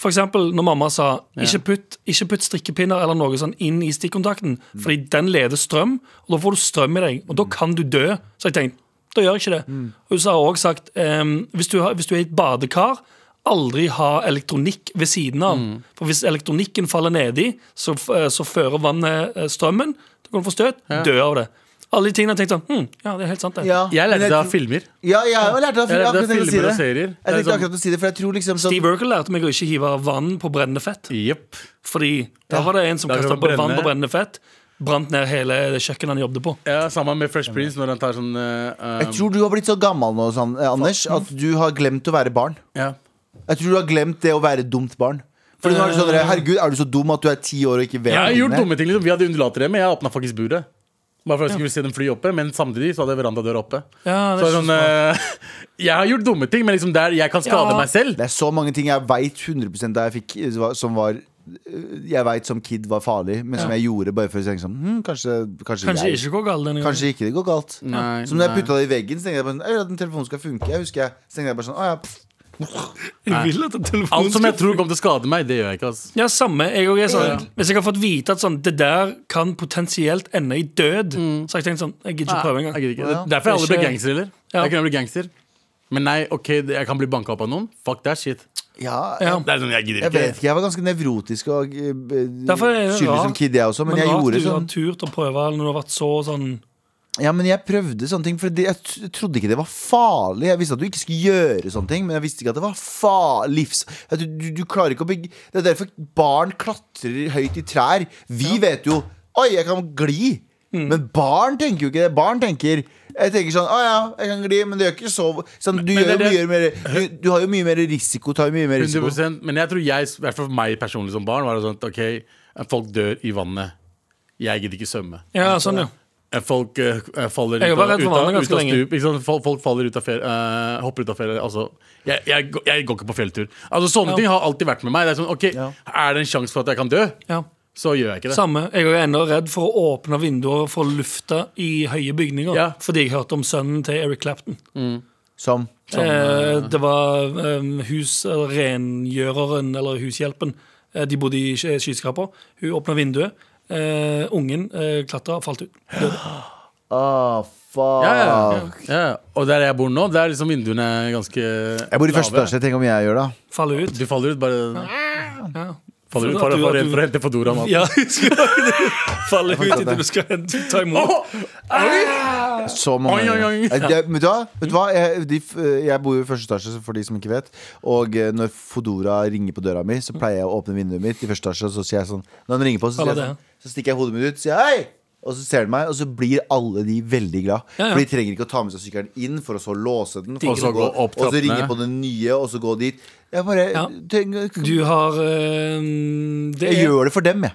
for eksempel når mamma sa ikke putt, ikke putt strikkepinner eller noe sånn inn i stikkontakten, fordi den leder strøm, og da får du strøm i deg, og da kan du dø. Så jeg tenkte da gjør jeg ikke det. Og hun har også sagt ehm, hvis, du har, hvis du er i et badekar, aldri ha elektronikk ved siden av. For hvis elektronikken faller nedi, så, f- eh, så fører vannet eh, strømmen. Da kan du få støt. Dø av det. Alle de tingene jeg tenkte sånn hm, Ja, det er helt sant, det. Jeg men lærte det av tror- filmer Ja, jeg har jo lært det av Jeg film. Akkurat lærte det av det jeg tenkte filmer og å si det. serier Jeg Det er tenkte sånn- akkurat å si det, for jeg tror liksom sånn Steve Urkel lærte meg å ikke hive vann på brennende fett. Jepp Fordi da var det en som Da kan kasta det brenne. vann på brennende fett, brant ned hele det kjøkkenet han jobbet på. ja, Sammen med Fresh Prince når han tar sånn eh, Jeg tror du har blitt så gammel nå, sånn, eh, Anders, at du har glemt å være barn. eh, ja. Jeg tror du har glemt det å være dumt barn. Fordi nå er det sånn, Herregud, er du så dum at du er ti år og ikke vet Eh. Jeg har gjort tingene? dumme ting. liksom Vi hadde undulater hjemme. Jeg åpna faktisk buret. Bare for at jeg skulle se dem fly oppe, men samtidig så hadde jeg verandadøra oppe. Ja, det så er så sånn, eh, jeg har gjort dumme ting, men liksom der jeg kan Ja. skade meg selv. Det er så mange ting jeg veit 100 da jeg fikk, eh, som var eh, Jeg veit som kid var farlig, men som jeg gjorde bare for å tenke sånn hm, kanskje, kanskje, Kanskje jeg, ikke gå galt denne gangen. kanskje ikke det går galt. Nei, som da nei. jeg putta det i veggen, så tenkte jeg bare sånn «Jeg vil at den telefonen skal funke. Jeg husker jeg, så tenkte jeg bare sånn, å, ja, pff, Jeg vil at telefonen Alt som skal jeg tror kommer til å skade meg, det gjør jeg ikke. ass Ja, samme. Jeg og jeg, er sånn, Hvis jeg har fått vite at sånn, det der kan potensielt ende i død, så har jeg tenkt sånn Jeg gidder ikke prøve Jeg engang. gidder ikke. Å, ja. Det- Derfor jeg aldri ble Ikke- gangster heller. Ja. Jeg kunne bli gangster. Men nei, ok, det- jeg kan bli banka opp av noen. Fuck that shit. ja, Ja. Det er sånn, jeg gidder Jeg vet ikke. ikke, jeg var ganske nevrotisk og eh, Derfor er det skyldig rart- som kid, jeg også. Men, jeg rart gjorde du sånn har turt å prøve når du har vært så sånn Ja, men jeg prøvde sånne ting, for jeg t- trodde ikke det var farlig. Jeg visste at du ikke skulle gjøre sånne ting, men jeg visste ikke at det var fa livs... At Du, du, du klarer ikke å bygge Det er derfor barn klatrer høyt i trær. Vi vet jo Oi, jeg kan gli. Mm. Men barn tenker jo ikke det. Barn tenker jeg tenker sånn Å ja, jeg kan gli, men det gjør ikke så sånn, du, men gjør jo det mye er mer, du, du har jo mye mer risiko. Tar jo mye mer risiko. 100 Men jeg tror jeg, i hvert fall for meg personlig som barn, var det sånn at ok, folk dør i vannet. Jeg gidder ikke svømme. Ja, sånn, ja. eh, folk eh, eh, faller Jeg ut var av, redd for ut vannet av, ut ganske av lenge. stup. Ikke sant? Folk, folk faller ut av ferie, eh, hopper ut av ferie. Altså, jeg, jeg, går- jeg går ikke på fjelltur. Altså, sånne Ja. ting har alltid vært med meg. Det er sånn, ok, Ja. er det en sjanse for at jeg kan dø? Ja. Så gjør jeg ikke det. Samme. Jeg er jo ennå redd for å åpne vinduer for lufta i høye bygninger. Ja. Fordi jeg hørte om sønnen til Eric Clapton. Som eh, det var eh, hus, eller rengjøreren eller hushjelpen. Eh, de bodde i sk- skyskraper. Hun åpna vinduet. Eh, ungen eh, klatra og falt ut. Døde. Ah, fuck. Ja, ja, Ah. ja. ja. Og der jeg bor nå, der er liksom vinduene ganske Jeg bor i første etasje. Tenk om jeg gjør det. Faller ut. Du faller ut, bare Ja. faller Fordi at ut du- at for, for, for, du- for å hente Fodora. mann. Ja, faller ut forstår idet det. du skal hente- ta imot. Så mange Oi, oi, oi. Jeg- jeg- Vet du hva? Vet du hva? Jeg, de, f- jeg bor jo i første etasje, så for de som ikke vet. Og eh, når Fodora ringer på døra mi, så pleier jeg å åpne vinduet mitt i første etasje. Og så sier jeg sånn Når han ringer på, så, sier jeg Alle det, sånn, så stikker jeg hodet mitt ut og sier hei! Og så ser de meg, og så blir alle de veldig glad. Ja, ja. For de trenger ikke å ta med seg sykkelen inn for å så låse den. For Og så gå og opp så trappene. ringe på den nye, og så gå dit. Jeg bare Ja. trenger, Du har eh, det Jeg er- gjør det for dem, jeg.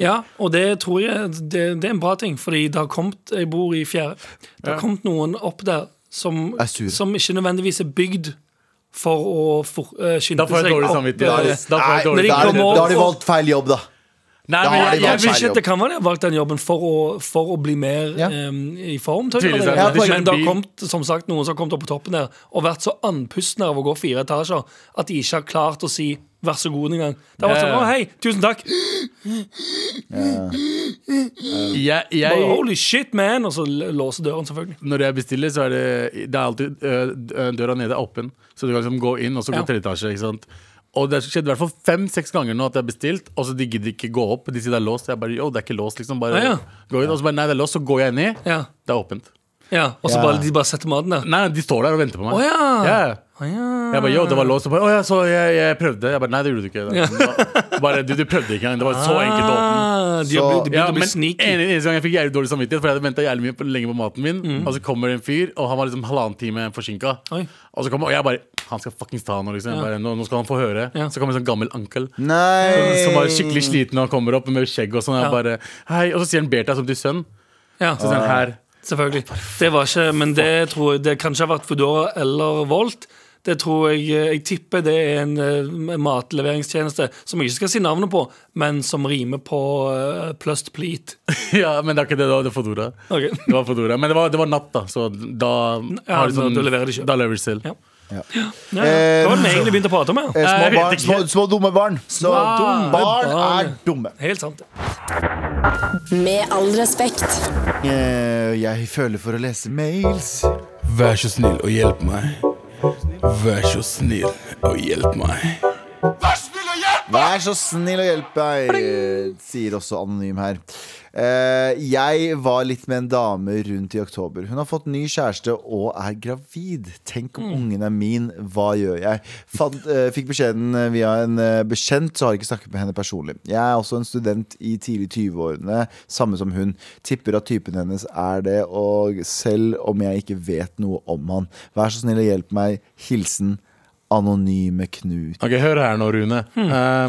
Ja, og det tror jeg det, det er en bra ting, fordi det har kommet Jeg bor i fjerde. Det har kommet noen opp der som, Er sure. som ikke nødvendigvis er bygd for å for, eh, skynde Da får jeg dårlig opp der. samvittighet. Da får jeg Nei, dårlig da, Når er det, de samvittighet. kommer da har de og- valgt feil jobb, da. Nei, Da men har jeg, de jeg, valgt vil feil ikke jobb. Det kan være de har valgt den jobben for å, for å bli mer Ja. em, i form. til å Tviler gjøre det. seg. Ja, Men det har bil. kommet som sagt, noen som har kommet opp på toppen der og vært så andpustne av å gå fire etasjer at de ikke har klart å si vær så god engang. Det har vært sånn, Ja. å hei, tusen takk. jeg, Bare, jeg, Holy shit, man! Og så låser døren, selvfølgelig. Når jeg bestiller, så er det, det er alltid øh, døra nede er åpen. Så du kan liksom gå inn, og så gå Ja. tredje etasje. ikke sant? Og det har skjedd i hvert fall fem-seks ganger nå at jeg har bestilt, og så de gidder ikke gå opp. De sier det er låst. Jeg bare, jo, det er ikke låst, liksom. Bare Ah, ja. gå inn. Og så bare, nei, det er låst. Så går jeg ned. Ja. Det er åpent. Ja, Og så Ja. bare, de bare setter maten der. Nei, nei, de står der og venter på meg. Å ja. Ja. Å ja. Jeg bare, jo, det var låst. Og bare, å ja, så jeg, jeg prøvde. Jeg bare, nei, det gjorde du ikke. Det er liksom- Bare, du, du prøvde ikke engang. Det var så enkelt å åpne. Ah, de Så- har begynt- de begynte Ja, å bli men en, sneaky. eneste gang jeg fikk jævlig dårlig samvittighet, for jeg hadde venta jævlig mye på, lenge på maten min. Og så kommer det en fyr, og han var liksom halvannen time forsinka. Mm. Oi. Og så kommer, og jeg bare Han skal fuckings ta nå, liksom. Jeg Bare, nå, nå skal han få høre. Ja. Så kommer en sånn gammel ankel. Nei! Som var skikkelig sliten og han kommer opp med skjegg og sånn. og Ja. Jeg bare, hei Og så sier han Bertha som til sønn. Ja, Så sier han her. selvfølgelig. Det var ikke, men det tror jeg det kan ikke ha vært Foodora eller Volt. Det tror jeg, eh, jeg tipper det er en eh, matleveringstjeneste som jeg ikke skal si navnet på, men som rimer på eh, Plust Pleat. ja, men det er ikke det, det var det er Fodora. Ok. Det var Fodora. Men det var, det var natt, da, så da Ja, har de sånn- da- da leverer de selv. Da leverer de selv. Ja. Ja. Ja, det var det vi egentlig begynte å prate om her. Eh, Jeg Små, vet barn, ikke. små, små dumme barn. Så dumme barn barn. er dumme. Helt sant. Med all respekt. Eh, Jeg føler for å lese mails. Vær så snill og hjelp meg. Vær så snill og hjelp meg. Vær så snill og hjelp meg, eh, sier også anonym her. Eh, Jeg var litt med en dame rundt i oktober. Hun har fått ny kjæreste og er gravid. Tenk om ungen er min, hva gjør jeg? Fant, eh, fikk beskjeden eh, via en eh, bekjent, så har jeg ikke snakket med henne personlig. Jeg er også en student i tidlig 20-årene, samme som hun. Tipper at typen hennes er det, og selv om jeg ikke vet noe om han. Vær så snill og hjelp meg. Hilsen Anonyme Knut. Ok, hør her nå, Rune. Hmm.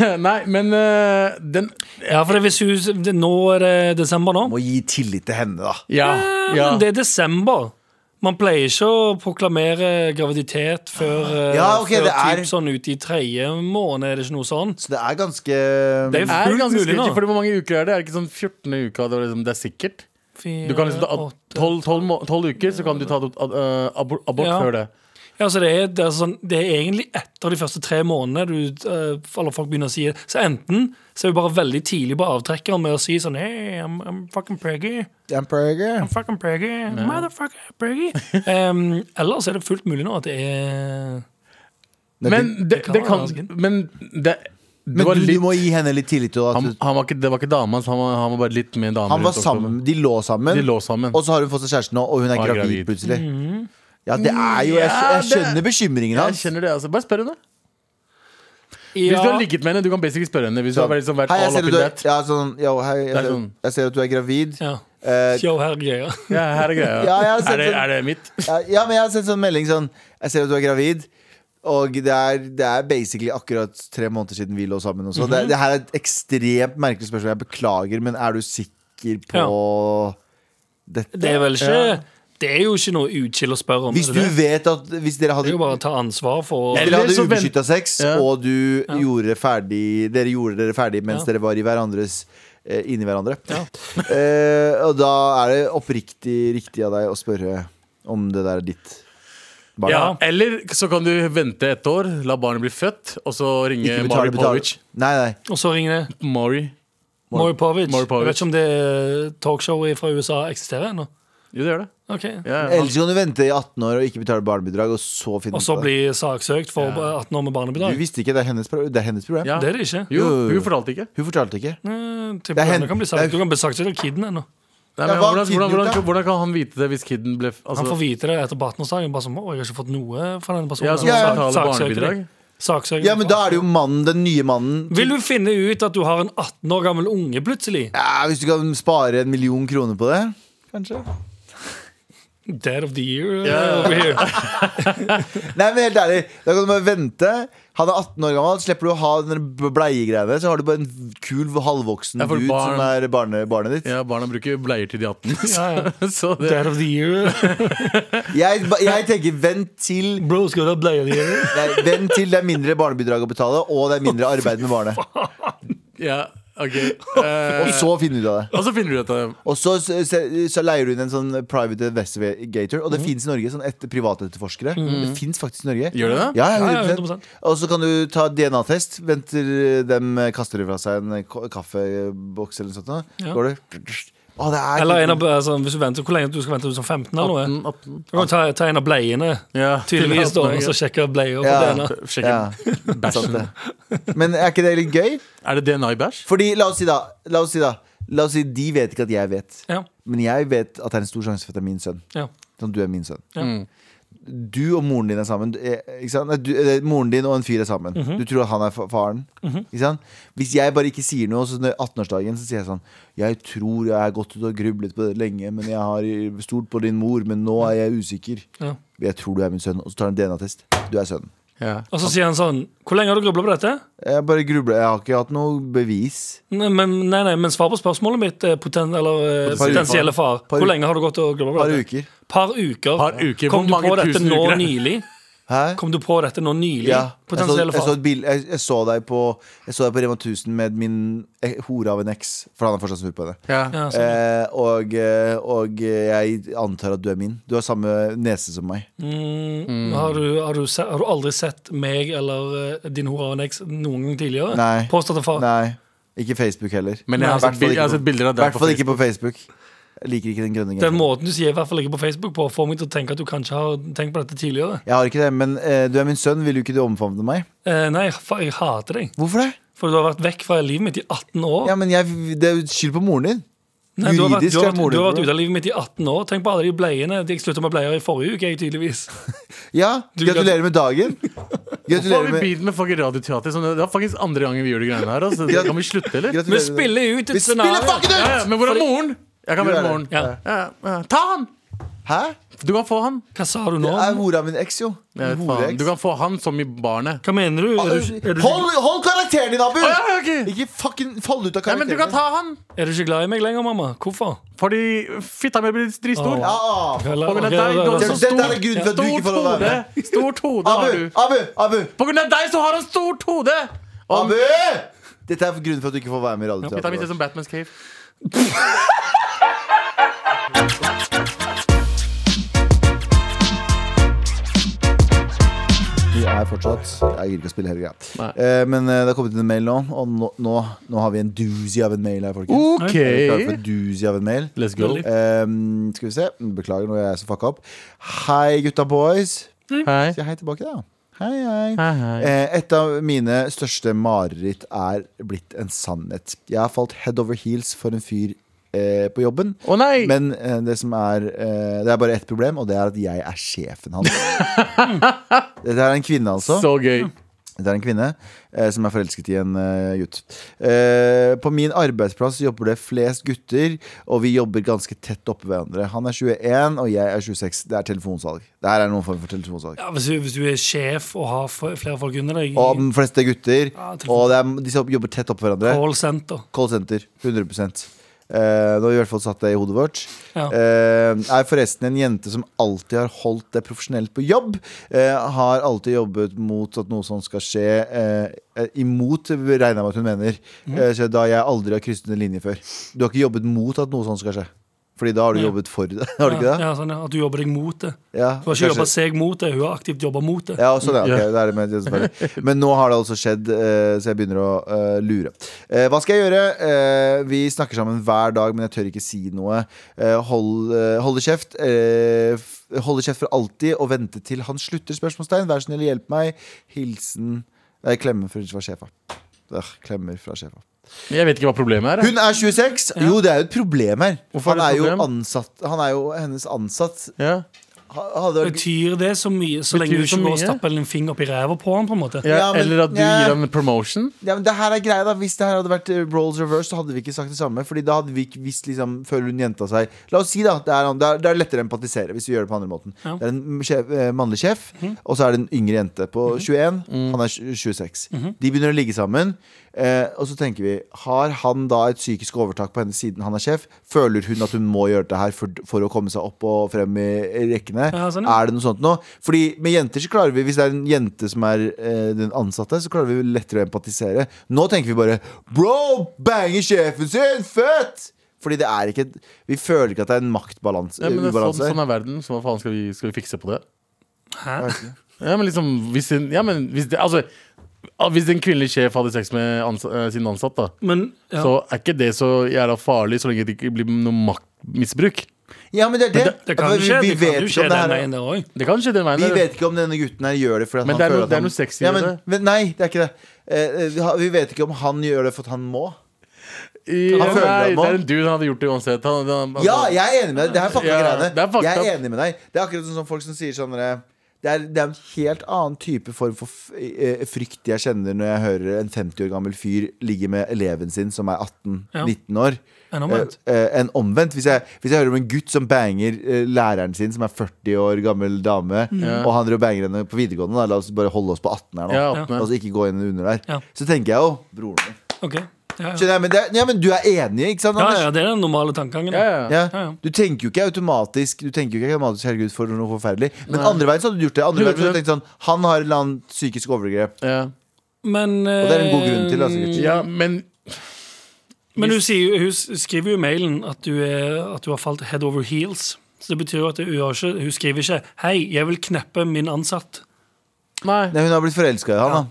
Eh, nei, men eh, den Ja, for det, hvis hun, det, nå er det desember nå. Må gi tillit til henne, da. Ja. ja. Men det er desember. Man pleier ikke å proklamere graviditet før, eh, Ja, ok, før det er- typ sånn ute i tredje måned. Er det ikke noe sånn? Så det er ganske Det er Det er fullt ganske mulig nå. sketchy, fordi hvor mange uker er det? Er det ikke sånn 14. uka? Det er, liksom, det er sikkert. Fire, Du kan liksom ta åtte. 12, uker, så kan du ta ad- ad- eh, abor abort Ja. før det. Ja, så det, er, det, er sånn, det er egentlig etter de første tre månedene du, eh, alle folk begynner å si det. Så enten så er vi bare veldig tidlig på avtrekkeren med å si sånn Hey, I'm, I'm fucking preggy. I'm fucking preggy. Motherfucker preggy. um, eller så er det fullt mulig nå at det er Men det, kan det være kan ganske. Men det, det Men var du, du litt må gi henne litt tillit. til at han, du- han var ikke, Det var ikke dama hans, han, var- han var bare litt med en dame. han var rundt sammen, de lå sammen, De lå sammen. og så har hun fått seg kjæreste nå, og hun er Og er gravid, gravid. plutselig. Ja, det er jo Jeg, Ja, jeg det- skjønner bekymringen Jeg hans. kjenner det, altså. Bare spør henne. Hvis ja, du har ligget med henne, du kan basically spørre henne. Hvis du har vært- liksom, vært Hei, jeg all ser at up in du er, that. ja, sånn, yo, hei, jeg, Det er ser, sånn. jeg ser at du er gravid. ja. Eh, Yo, her er greia. Ja, her er greia. Ja, jeg har sett er, det, sånn- er det mitt? ja, ja, men jeg har sett sånn melding sånn Jeg ser at du er gravid. Og det er, det er basically akkurat Mhm. tre måneder siden vi lå sammen. Også. det, det her er et ekstremt merkelig spørsmål. Jeg beklager, men er du sikker? tenker på dette. Det er vel ikke Ja. Det er jo ikke noe uchill å spørre om. Hvis er du det det? vet at Hvis dere det hadde er jo bare å ta ansvar for Dere Eller hadde så vent- ubeskytta sex, Ja. og du gjorde det ferdig dere gjorde dere ferdig mens Ja. dere var i hverandres eh, inni hverandre. Ja. Eh, og da er det oppriktig riktig av deg å spørre om det der er ditt barn. Ja, eller så kan du vente et år, la barnet bli født, og så ringe Ikke Mari betale, Povic. betale. Nei, nei. Og så ringer det Mari. Maury Povich. Maury Jeg Povich. vet ikke om det talkshowet fra USA eksisterer ennå. Jo, det gjør det. Ok. Ja, ja. Ellers kan du vente i 18 år og ikke betale barnebidrag, og så finne Og så ut av det. bli saksøkt for 18 år med Du barnebidrag. visste ikke, det er hennes, pro- det er hennes program. Ja. Det er det ikke. Jo, Jo, jo, jo. hun fortalte ikke. Hun fortalte ikke. Eh, Det til er hen- problemet kan bli det sagt. er- Du kan bli saksøkt av kiden ennå. Nei, Ja, hva men hvordan, har hvordan, kiden gjort, hvordan, da? hvordan kan han vite det hvis kiden ble f- Han altså, får vite det etter 18-årsdagen. Bare som, å, jeg har ikke fått noe fra denne personen. Ja, så må Ja, han ja. betale Saksøker barnebidrag. deg. Saksøker Ja, men da er det jo mannen, den nye mannen. Vil du finne ut at du har en 18 år gammel unge plutselig? Ja, hvis du kan spare en million kroner på det. Kanskje Dead of the year eh, Ja. over here. Nei, men helt ærlig, da kan du bare vente. Han er 18 år gammel, slipper du å ha den bleiegreiene. Så har du bare en kul, halvvoksen Ja, for dude barn- som er barne, barnet ditt. Ja, barna bruker bleier til de 18. Ja, ja. Så det, Dead of the year. Jeg, ba- jeg tenker vent til Bro, skal du ha bleie of the year? nei, Vent til det er mindre barnebidrag å betale, og det er mindre arbeid med barnet. ja, ok Eh, Og så finner du ut av det. Og så finner du ut av det. Og så, så, så leier du inn en sånn private investigator, og det Mhm. fins i Norge. sånn etter Privatetterforskere. Det fins faktisk i Norge. Gjør det det? Ja, ja, Ja, ja, 100%. Og så kan du ta DNA-test. Venter eh, dem kaster fra seg en ko- kaffeboks eller noe sånt. da. Ja. Går du Å, det er Eller en av, altså, hvis du venter, Hvor lenge du skal vente? Du som 15 eller noe? 18. Du kan ta, ta en av bleiene. Ja, Tydeligvis altså. da, og så så sjekke bleier på Ja. DNA. sjekker ja, sant bæsjen. det. Men er ikke det litt gøy? Er det DNA i bæsj? Fordi, la oss si, da. La oss si, da. La oss si de vet ikke at jeg vet. Ja, Men jeg vet at det er en stor sjanse for at det er min sønn. ja. Sånn, du er min sønn. Ja. Mm. Du og moren din er sammen. eh, Ikke sant? Nei, Du, eh, moren din og en fyr er sammen. Mhm. Du tror at han er fa- faren. ikke sant? Hvis jeg bare ikke sier noe, så når 18-årsdagen så sier jeg sånn Jeg tror jeg har gått ut og grublet på det lenge, men jeg har stolt på din mor, men nå er jeg usikker. Ja. Jeg tror du er min sønn. Og så tar han DNA-test. Du er sønnen. Ja. Og så sier han sånn Hvor lenge har du grubla på dette? Jeg bare grubler. Jeg har ikke hatt noe bevis. Nei, men, nei, nei, men svar på spørsmålet mitt, eh, poten, eller eh, Par uker. potensielle far. Par Hvor uker. lenge har du gått og grubla på Par dette? uker. Par uker. Par uker. Kom Hvor du mange på dette tusen nå uker er det? nylig? Hæ? Kom du på dette nå nylig? Ja. Jeg så, Potensielle jeg, så far. et bilde- jeg, jeg så deg på Jeg så deg på Rema 1000 med min eh, hore av en eks, for han er fortsatt sur på henne. Ja, sånn. Eh, og, eh, og jeg antar at du er min. Du har samme nese som meg. Mm. Har, du, har, du se, har du aldri sett meg eller eh, din hore av en eks noen gang tidligere? Nei. Påstått av far. Nei, ikke Facebook heller. Men jeg har, Hvertfall sett, bil- jeg har ikke sett bilder av på- deg på hvertfall Facebook. ikke på Facebook. Jeg liker ikke den grønne Den genseren. måten du sier i hvert fall ikke på Facebook på, får meg til å tenke at du kanskje har tenkt på dette tidligere. Jeg har ikke det, men eh, du er min sønn. Vil du ikke du omfavne meg? Eh, nei, fa- jeg hater deg. Hvorfor det? For du har vært vekk fra livet mitt i 18 år. Ja, men jeg, Det er jo skyld på moren din. Nei, du har vært, du Juridisk har er vært, du har vært moren ute din. av livet mitt i 18 år. Tenk på alle de bleiene. Jeg slutta med bleier i forrige uke, jeg, tydeligvis. Ja, Du- gratulerer med dagen. Hvorfor har Gratulerer vi med, begynt med fucking radioteater? Sånn, det er faktisk andre gangen vi gjør de greiene her. Altså. Ja. Kan vi slutte, eller? gratulerer Vi med- spiller ut Vi et scenario. spiller fucking Ja, ut! ja, men hvor er moren? Jeg kan Du være er moren. Ja. Ja, ja. Ta han! Hæ? Du kan få han. Hva sa du Det nå? er hora min eks, jo. Jeg vet Horeeks. faen. Du kan få han som i barnet. Hva mener du? Er du, er du, Hold, hold karakteren din, Abu! Å, ja, ja, ok. Ikke fucking fall ut av Nei, karakteren. men du kan ta han! er du ikke glad i meg lenger, mamma? Hvorfor? Fordi fitta mi blir dritstor. Å. Ah, Eller- På grunn av ok, deg, eller- du har Det- så dette er stort, grunnen til at du ikke stort får lov til å være hode. med. Stort hode har Abu, du. Abu, Abu, På grunn av deg så har han stort hode! Og Abu! Dette er grunnen for at du ikke får være med i fitta mi ser ut Radioteatret. som Batmans cave. Vi er fortsatt Jeg gir ikke å spille hele greia. Nei. Eh, men eh, det har kommet inn en mail nå, og nå, nå, nå har vi en doozy av en mail her, folkens. Ok. Er dere klare for en doozy av en mail? Let's go. Ehm, skal vi se. Beklager når jeg er så fucka opp. Hei, gutta boys. Hei. Si hei tilbake, da. Hei, hei. Hei, hei. Eh, Et av mine største mareritt er blitt en sannhet. Jeg har falt head over heels for en fyr eh, på jobben. Å nei! Men eh, det som er eh, Det er bare ett problem, og det er at jeg er sjefen hans. Dette er en kvinne, altså. Så gøy. Dette er en kvinne eh, som er forelsket i en eh, gutt. Eh, på min arbeidsplass jobber det flest gutter, og vi jobber ganske tett oppe hverandre. Han er 21, og jeg er 26. Det er telefonsalg. Det her er noen form for telefonsalg. Ja, hvis, du, hvis du er sjef og har f- flere folk under deg Og i de fleste er gutter, Ja, telefon- og det er, de som jobber tett oppå hverandre. call center Call center, 100 Eh, nå har vi i hvert fall satt det i hodet vårt. Ja. Eh, er forresten en jente som alltid har holdt det profesjonelt på jobb. Eh, har alltid jobbet mot at noe sånt skal skje. Eh, imot regner jeg med at hun mener. Mm. Eh, så da jeg aldri har krysset en linje før. Du har ikke jobbet mot at noe sånt skal skje. Fordi da har du Nei. jobbet for det. har du ikke det? Ja, sånn, ja. At du jobber deg mot det. Ja, Hun har ikke kanskje- jobba seg mot det, hun har aktivt jobba mot det. Ja, også det, ok, Ja. det er det med det, selvfølgelig. Men nå har det altså skjedd, eh, så jeg begynner å eh, lure. Eh, hva skal jeg gjøre? Eh, vi snakker sammen hver dag, men jeg tør ikke si noe. Eh, hold, eh, holde kjeft. eh, f- holde kjeft for alltid og vente til han slutter? Spørsmålstegn. Vær så snill, hjelp meg. Hilsen Nei, klemme fra, fra sjefa. Øh, klemmer fra sjefa. Jeg vet ikke hva problemet er. Hun er 26! Jo, det er jo et problem her. Hvorfor er Han er, det et jo problem? ansatt, han er jo hennes ansatt. Ja. Ha- Hadde vært Betyr det så mye så Betyr lenge du det så ikke går og mye? stapper en finger opp i ræva på han, på en måte? Ja, Ja, men- eller at du ja. gir ham en promotion. Ja, men det her er greia da Hvis det her hadde vært eh, roles reverse, så hadde vi ikke sagt det samme. Fordi da hadde vi ikke visst liksom Føler hun jenta seg La oss si, da. Det er, det er, det er lettere å empatisere hvis vi gjør det på andre måten. Ja. Mhm. Det er en sjef, eh, mannlig sjef, og så er det en yngre jente på 21. Han er tj- 26. Mhm. De begynner å ligge sammen. Eh, og så tenker vi Har han da et psykisk overtak på henne siden han er sjef? Føler hun at hun må gjøre det her for, for å komme seg opp og frem i rekkene? Ja, sånn, ja. Er det noe sånt nå? Fordi med jenter så klarer vi Hvis det er en jente som er eh, den ansatte Så klarer vi lettere å empatisere Nå tenker vi bare Bro, banger sjefen sin, født! Fordi det er ikke Vi føler ikke at det er en maktbalanse eh, Ja, men det er sånn, ubalanse. sånn er verden, så hva faen skal vi, skal vi fikse på det? Hæ? Ja, men liksom, hvis en, ja, men hvis det, altså, ah, hvis en kvinnelig sjef hadde sex med ansa, eh, sin ansatt, da, Men ja. så er ikke det så jævla farlig, så lenge det ikke blir noe maktmisbruk. Ja, men det er det, det kan jo vi, skje. vi Det kan vet jo ikke skje om det den her veien der òg. Det kan skje den veien. Vi der. vet ikke om denne gutten her gjør det fordi at Men han det er noe- føler at det er han- noe sexy ja, ved men, det. men nei, det er ikke det Eh, Vi vet ikke om han gjør det for at han må I- Han føler nei, det nå. det er en dude han hadde gjort det uansett. Han, han, Ja, jeg er enig med deg. Det her fucker Ja, greiene. det er fucked jeg er up. enig med deg. Det er akkurat sånn som folk som sier sånn dere, det er, det er en helt annen type form for f eh, frykt jeg kjenner når jeg hører en 50 år gammel fyr ligge med eleven sin som er 18-19 Ja. år. Enn omvendt. Eh, eh, enn omvendt. Hvis jeg, hvis jeg hører om en gutt som banger eh, læreren sin, som er 40 år gammel dame, Mm. og han driver og banger henne på videregående, da, la oss bare holde oss på 18 her nå. Ja, 18, ja. La oss ikke gå inn under der. Ja. Så tenker jeg jo broren min. Ok. Ja, ja. Skjønner jeg, men, det, ja, men du er enig, ikke sant? Ja, Anders? ja, det er den normale tankegangen. Ja, da. ja. ja. Ja, ja. Du tenker jo ikke automatisk Du tenker jo ikke automatisk Herregud, for noe forferdelig. Men andre veien så hadde du gjort det. Andre veien så hadde du tenkt sånn Han har et eller annet psykisk overgrep. Ja. Men, eh, Og det er en god grunn til. altså, da, sikkert. ja, men Men hun, sier, jo- hun skriver jo i mailen at du, er, at du har falt head over heels. Så det betyr jo at hun, har ikke, hun skriver ikke 'Hei, jeg vil kneppe min ansatt'. Nei. Nei, hun har blitt forelska i han, da.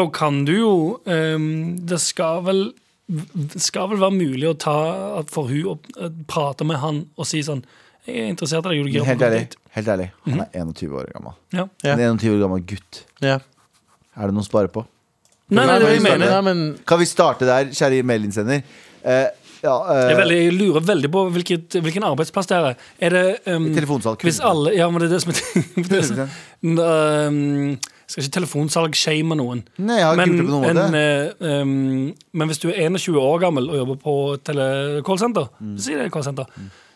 Da kan du jo ehm, Det skal vel det skal vel være mulig å ta at for hun å eh, prate med han og si sånn 'Jeg er interessert i deg, vil du gidde å Helt komme ærlig. dit?' Helt ærlig. Han er 21 år gammel. Ja. Ja. En 21 år gammel gutt. Ja. Er det noe å spare på? Nei, nei, det er det jeg men- mener. Nei, men Kan vi starte der, kjære mailinnsender? Eh, ja, eh, Jeg, er veldig, jeg lurer veldig på hvilket, hvilken arbeidsplass det er. Er det um, Telefonsalg. Hvis alle Ja, men det er det som er det som- um, Skal ikke telefonsalg shame noen. Nei, jeg har ikke men, gjort det på noen måte. en, eh, um, men hvis du er 21 år gammel og jobber på tele callsenter, Mm. si det er callsenter,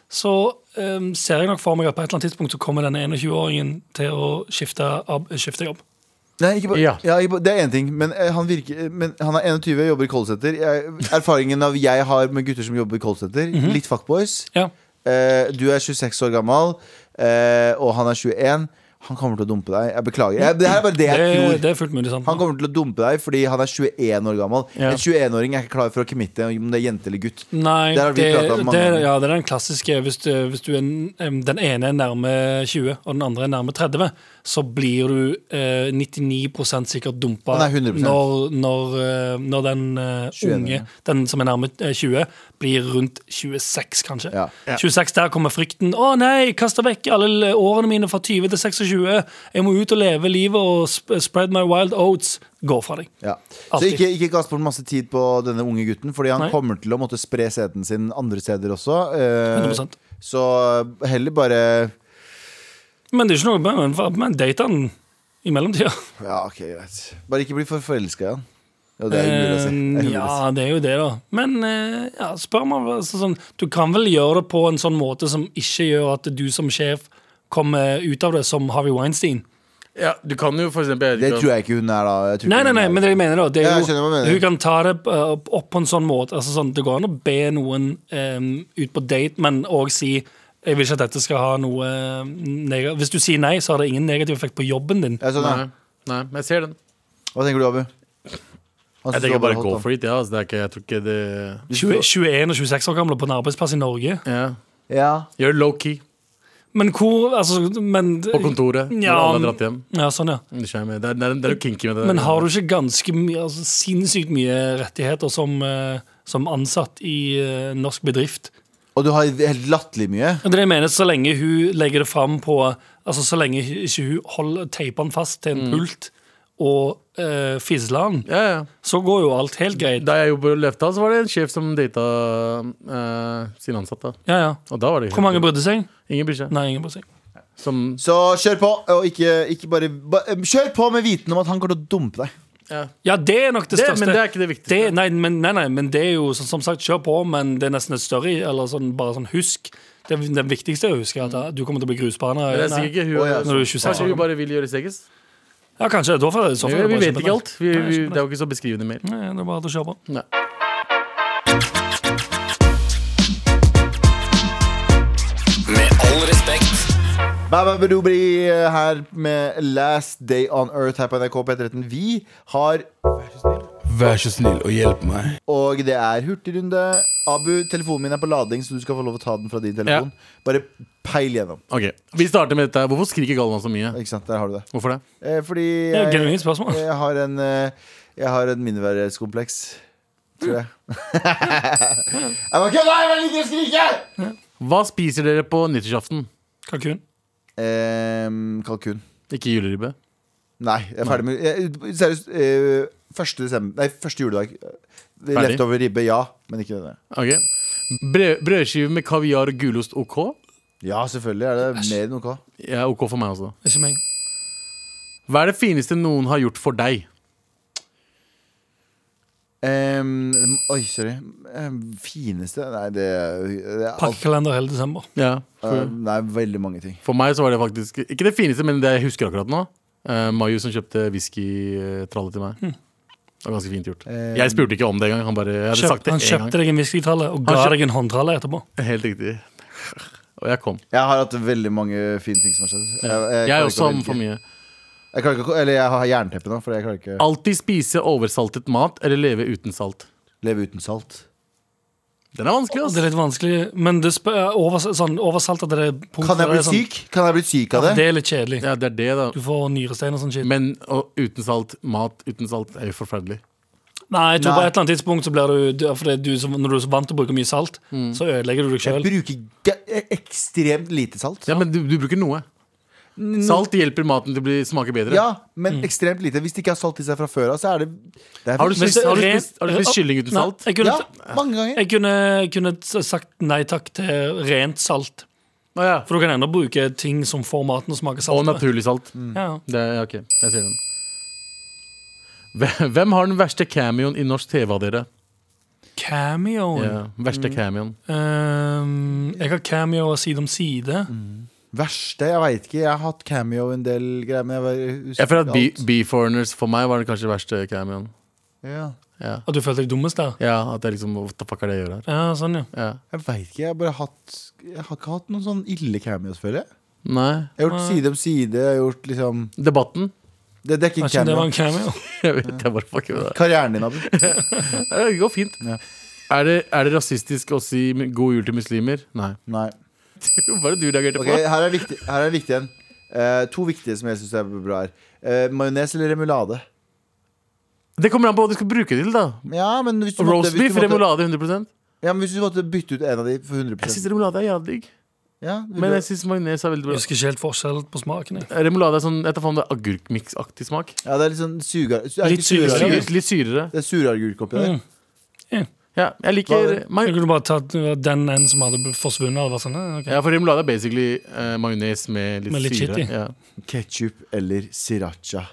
så um, ser jeg nok for meg at på et eller annet tidspunkt så kommer denne 21-åringen til å skifte, ab skifte jobb. Nei, ikke på, ja. Ja. ikke på, det er én ting, men eh, han, virker, men han er 21, jobber i callsenter. Jeg- Erfaringen av jeg har med gutter som jobber i callsenter, litt fuckboys. Ja. Eh, du er 26 år gammel, eh, og han er 21. Han kommer til å dumpe deg. Jeg beklager. Jeg, det her er bare det jeg Det, tror. det er fullt mulig, sant? Han kommer til å dumpe deg fordi han er 21 år gammel. Ja. En 21-åring er ikke klar for å committe om det er jente eller gutt. Nei, Der har vi det, pratet om mange det, ganger. ja, det er den klassiske. Hvis du, hvis du er, n- em, den ene er nærme 20, og den andre er nærme 30, så blir du eh, 99 sikkert dumpa Nei, 100%. når, når, eh, når den eh, 21, ja. unge, den som er nærme eh, 20, blir rundt 26, kanskje. Ja. 26, Der kommer frykten. 'Å nei, kasta vekk alle l- årene mine fra 20 til 26.' 'Jeg må ut og leve livet og sp spread my wild oats.' Gå fra deg. Ja. Så Alltid. ikke, ikke kast bort masse tid på denne unge gutten, fordi han Nei. kommer til å måtte spre sæden sin andre steder også. Eh, 100%. så heller bare Men det er ikke noe men- Men date han i mellomtida. Ja, ok, greit Bare ikke bli for forelska i han. Ja, det er umulig å si. Det er Eh, umulig å si. Ja, det er jo det, da. Men eh, ja, spør meg altså, sånn, Du kan vel gjøre det på en sånn måte som ikke gjør at du som sjef kommer ut av det som Harvey Weinstein. Ja, du kan jo for eksempel Det tror jeg ikke hun er, da. Jeg tror Nei, ikke nei, hun nei, er. men det jeg mener da det Ja, er jeg skjønner jo, hva du mener. Hun kan ta det eh, opp, opp på en sånn måte altså, sånn, Det går an å be noen eh, ut på date Men også si Jeg vil ikke at dette skal ha noe negativt Hvis du sier nei, så har det ingen negativ effekt på jobben din Ja, sånn, ja. Nei, nei, men jeg ser den. Altså, Hva tenker du, Abu? Han Jeg synes tenker det var bare hot, go da. for it. Ja, altså, det er ikke, jeg tror ikke det 20, 21 og 26 år gamle på en arbeidsplass i Norge ja. Ja. Gjør det low-key Men hvor, altså men, på kontoret når Ja, alle har dratt hjem. Ja, sånn ja Det skjer med- det er, det er, det er jo kinky med det. der. Men har du ikke ganske mye, altså sinnssykt mye rettigheter som, eh, som ansatt i eh, norsk bedrift? Og du har helt latterlig mye. Og Det er det jeg mener, så lenge hun legger det fram på Altså så lenge hu- ikke hun holder teipen fast til en Mm. pult og eh, fisler den, Ja, ja. så går jo alt helt greit. Da jeg jobbet på Løfta, så var det en sjef som data eh, sine ansatte. Ja, ja. Og da var det Hvor mange brydde seg? Ingen bryr seg. Nei, ingen brydde seg. Som Så kjør på, og ikke, ikke bare ba, eh, Kjør på med viten om at han kommer til å dumpe deg. ja. Ja, det er nok det det, største. Men det er ikke det viktigste. Det- nei, men, nei, nei, men det er jo så, som sagt, kjør på, men det er nesten et større Eller sånn, bare sånn husk. Det, det viktigste er å huske at eh, du kommer til å bli grusbane. Men det er Nei. sikkert ikke hun Å, ja. som- Når du er 26 Kanskje år. hun bare vil gjøre sex? Ja, kanskje. Da får jeg, så Vi, får jeg vi bare vet kjøpe ikke den. alt. Vi, Nei, jeg vi, skjønner det er jo ikke så beskrivende mer. Nei, det er bare til å kjøre på. Nei. Med all respekt. Bababadobri eh, her med Last Day On Earth her på NRK P13. Vi har Vær så snill og hjelp meg. Og det er hurtigrunde. Abu, telefonen min er på lading, så du skal få lov å ta den fra din telefon. Bare peil gjennom. Ok, Vi starter med dette. Hvorfor skriker Galvan så mye? Ikke sant, Der har du det. Hvorfor det? Eh, fordi Det er et jeg, genuint spørsmål. jeg har en eh, Jeg har en mindreverdighetskompleks. Tror jeg. jeg bare kødda! Jeg liker å skrike! Hva spiser dere på nyttårsaften? Kalkun. Ehm, kalkun. Ikke juleribbe. Nei, jeg er ferdig med jeg, Seriøst. eh, første, desember, nei, første juledag. Ferdig? Leftover ribbe, ja. Men ikke denne. Ok Brød, Brødskive med kaviar og gulost OK? Ja, selvfølgelig er det mer enn OK. Ja, OK for meg også. Ikke meg. Hva er det fineste noen har gjort for deg? Ehm, oi, sorry. Ehm, fineste Nei, det, det er alt. Pakkekalender hele desember. Ja, for, Eh, nei, veldig mange ting. for meg så var det faktisk Ikke det fineste, men det jeg husker akkurat nå. Uh, Maju som kjøpte whiskytralle til meg. Det var ganske fint gjort. Eh, jeg spurte ikke om det engang. Han bare jeg hadde Kjøpt, sagt det han en kjøpte deg en whiskytralle og Han ga kjøp- deg en håndtralle etterpå. gang. Helt riktig. Og jeg kom. Jeg har hatt veldig mange fine ting som har skjedd. Jeg, jeg, Jeg klarer er ikke å også om velge. for mye. Jeg klarer ikke å, Eller jeg har jernteppe nå, for jeg klarer ikke å Alltid spise oversaltet mat eller leve uten salt. leve uten salt. Den er vanskelig, Det altså. er litt vanskelig, men det spør, over, sånn, oversalt at det er punktet Kan jeg der bli er sånn- syk? Kan jeg bli syk av Ja, det? Det er litt kjedelig. Ja, det er det, da. Du får nyrestein og sånn shit. Men og uten salt, mat uten salt, er jo forferdelig. Nei, jeg tror Nei. på et eller annet tidspunkt så blir du, du- for det er du som, Når du er så vant til å bruke mye salt, Mm. så ødelegger du deg Jeg sjøl. bruker ge- e- ekstremt lite salt. Ja, men du, du bruker noe. Salt hjelper maten til å bli, smake bedre. Ja, men ekstremt lite. Hvis det ikke har salt i seg fra før av, så er det, det er Har du Men spist, så- har du ren- spist, har du spist kylling uten Nei, salt? Jeg kunne, Ja, mange ganger. jeg kunne, jeg kunne sagt nei takk til rent salt. Å ja. For du kan ennå bruke ting som får maten å smake Og salt. Mm. naturlig salt. ja. Det, ja, ok, jeg ser den. Hve- Hvem har den verste cameoen i norsk TV av dere? Cameo. Ja, verste cameoen. Ehm, jeg har cameo og Side om side. Verste? Jeg veit ikke. Jeg har hatt cameo en del greier. Men jeg bare husker Jeg føler at ikke Be- alt. B-Foreigners for meg var den kanskje verste cameoen. ja. Ja. At du følte deg dummest der? ja, at jeg liksom What the fuck er det jeg gjør her? Ja, sånn, ja. Ja. Jeg veit ikke. Jeg har bare hatt Jeg har ikke hatt noen sånn ille cameos, føler jeg. Nei. Jeg har gjort Side om side. Jeg har gjort liksom Debatten. Det, det er ikke en Kanskje det cameo. var en cameo? Jeg vet, jeg bare fucker med det. Karrieren din, Abu. Ja, Det går fint. Ja. Er, det, er det rasistisk å si god jul til muslimer? Nei. Nei. Hva er det du reagerte Ok, her er viktig, her er viktig en. Eh, to viktige som jeg syns er bra her. Eh, Majones eller remulade? på? Det kommer an på hva du skal bruke det til, da. Ja, men hvis du måtte, Roast hvis beef, du måtte, remulade 100 ja, men hvis du måtte bytte ut en av de for Jeg syns 100 remulade er jævlig digg, ja, vil men du- jeg syns majones er veldig Jeg bra. husker ikke helt forskjell på smaken. Jeg. Remulade er sånn jeg tar faen, det er agurkmiksaktig smak. ja, det er litt sånn sugar, er det Litt ikke syre. sugaragurk? Syr, litt syrere. Det er suragurk oppi der. Mm. Ja, jeg Hva liker er det? ma- Jeg kunne bare tatt uh, den en som hadde bl- forsvunnet. Og vært sånn, eh, ok. ja, for remulade er basically eh, majones med litt, Med litt shit syre. i. Ja. Ketchup eller sriracha?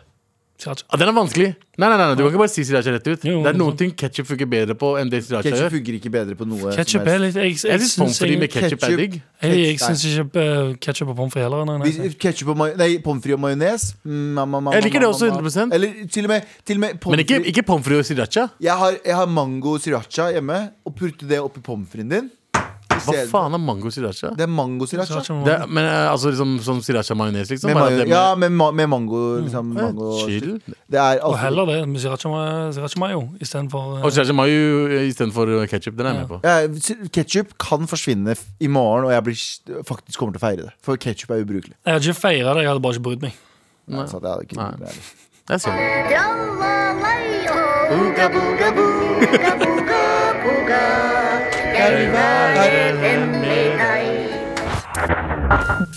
Sriracha. Ah, Den er vanskelig. Nei, nei, nei, nei, Du kan ikke bare si sriracha rett ut. Jo, det er noen sant. ting ketsjup funker bedre på enn det sriracha Ketchup gjør. funker ikke bedre på noe Ketchup er litt Jeg, jeg, Jeg jeg synes Pommes syns frites med jeg, ketsjup er Ketchup. digg. jeg, jeg synes ikke eh, ketchup og pommes frites heller. Nei, nei. Hvis- Ketchup og majo- nei, pommes frites og majones. Mm, ma, ma, ma, Jeg liker det ma, ma, også, ma. 100%. Eller til og med, til og med pommes Men ikke, frites. ikke pommes frites og sriracha. jeg, har, jeg har mango sriracha hjemme, og putte det oppi pommes fritesen din. Hva faen er mango sriracha? Det er mango sriracha. Sriracha med Det er, men eh, altså liksom sånn sriracha majones, liksom? Med bare at majo, det- Eh, Mm. ja, med, ma med mango. Liksom, mango Chill. Det er Og altså heller det med sriracha ma- sriracha mayo istedenfor Og sriracha mayo eh, istedenfor ketsjup. Den er jeg med på. ja, Ketsjup kan forsvinne f- i morgen, og jeg blir, faktisk kommer til å feire det. For ketsjup er ubrukelig. Jeg hadde ikke feira det, jeg hadde bare ikke brydd meg. Nei. Så det hadde ikke Nei. det er- Jeg ser det.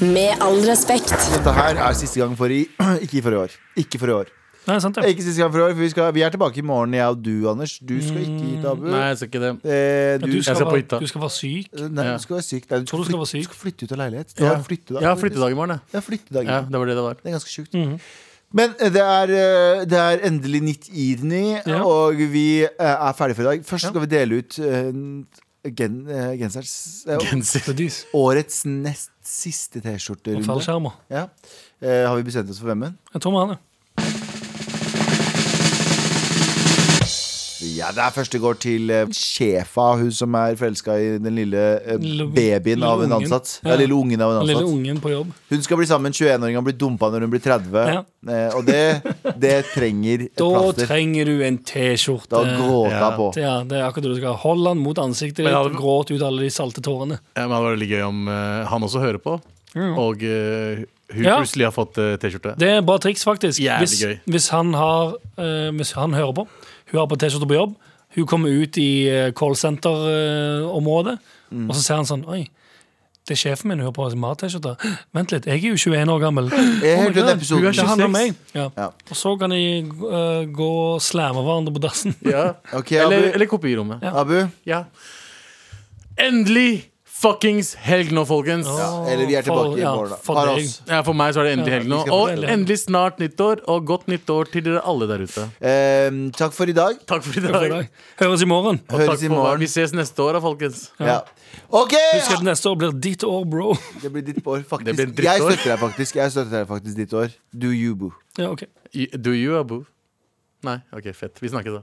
Med all respekt. Dette her er siste gang for i Ikke for i år. Ikke for i år. Nei, sant det. Ikke siste gang for i år, for vi, skal, vi er tilbake i morgen, jeg og du, Anders. Du skal ikke hit, Abu. Nei, jeg ser ikke det. Eh, Du du, skal, skal på hytta. være, du skal være syk. Nei, Ja. du skal være syk. Nei, du, Tror du skal være syk? du skal flytte ut av leilighet. Du har flyttedag. Ja, flyttedag i morgen, ja. Ja, flyttedag. ja. Det var det det var. Det er ganske sjukt. Mhm. Men eh, det er, eh, det er endelig nytt Irni, Ja. og vi eh, er ferdig for i dag. Først skal vi dele ut eh, gen, eh, genserens eh, Genser. Dis. Årets nest siste Og T-skjorterunde. fallskjermer. Ja. Eh, har vi bestemt oss for hvem? men? Jeg tror vi har det. Ja, det er første går til eh, sjefa, hun som er forelska i den lille eh, Lille- babyen lille av en ungen. ansatt. Ja. Ja, lille ungen av en Den lille ansatt. ungen på jobb. Hun skal bli sammen 21-åringen, blir dumpa når hun blir 30. Ja. Eh, og det, det trenger et Da plaster. trenger du en Da T-skjorte. gråta Eh, Ja. på. Ja, det er akkurat det du skal. Hold den mot ansiktet Men ditt, hadde- og gråt ut alle de salte tårene. Ja, men det var veldig gøy om eh, han også hører på, og eh, hun Ja. plutselig har fått eh, T-skjorte. Det er et bra triks, faktisk. Jævlig Hvis, gøy. hvis, han har, eh, hvis han hører på, hun har på T-skjorte på jobb, hun kommer ut i eh, callsenter-området, Mm. og så ser han sånn Oi, det er sjefen min hun har på seg mat-T-skjorte. Vent litt, jeg er jo 21 år gammel. Jeg hørte den God, episoden. det handler om meg. Ja. Ja. Og så kan de eh, gå og slamme hverandre på dassen. Ja. Ok, Eller, Abu. eller kopirommet. Ja. Abu? Endelig fuckings helg nå, folkens! Ja. Åh, Eller vi er tilbake i ja, morgen, da. for Har deg. oss. for meg så er det endelig helg nå. vi skal Og fortelle. endelig snart nyttår, og godt nyttår til dere alle der ute. Eh, takk for i dag. Takk for i Takk for i dag. dag. Høres i morgen. Og Høres takk i for meg. morgen. Vi ses neste år da, folkens. Ja. OK! Husk at neste år blir ditt år, bro. Det blir ditt år, faktisk. Det blir ditt jeg år. støtter deg faktisk. Jeg støtter deg faktisk ditt år. Do you, boo. Ja, ok. Y- Do you, Abu? Nei? OK, fett. Vi snakkes da.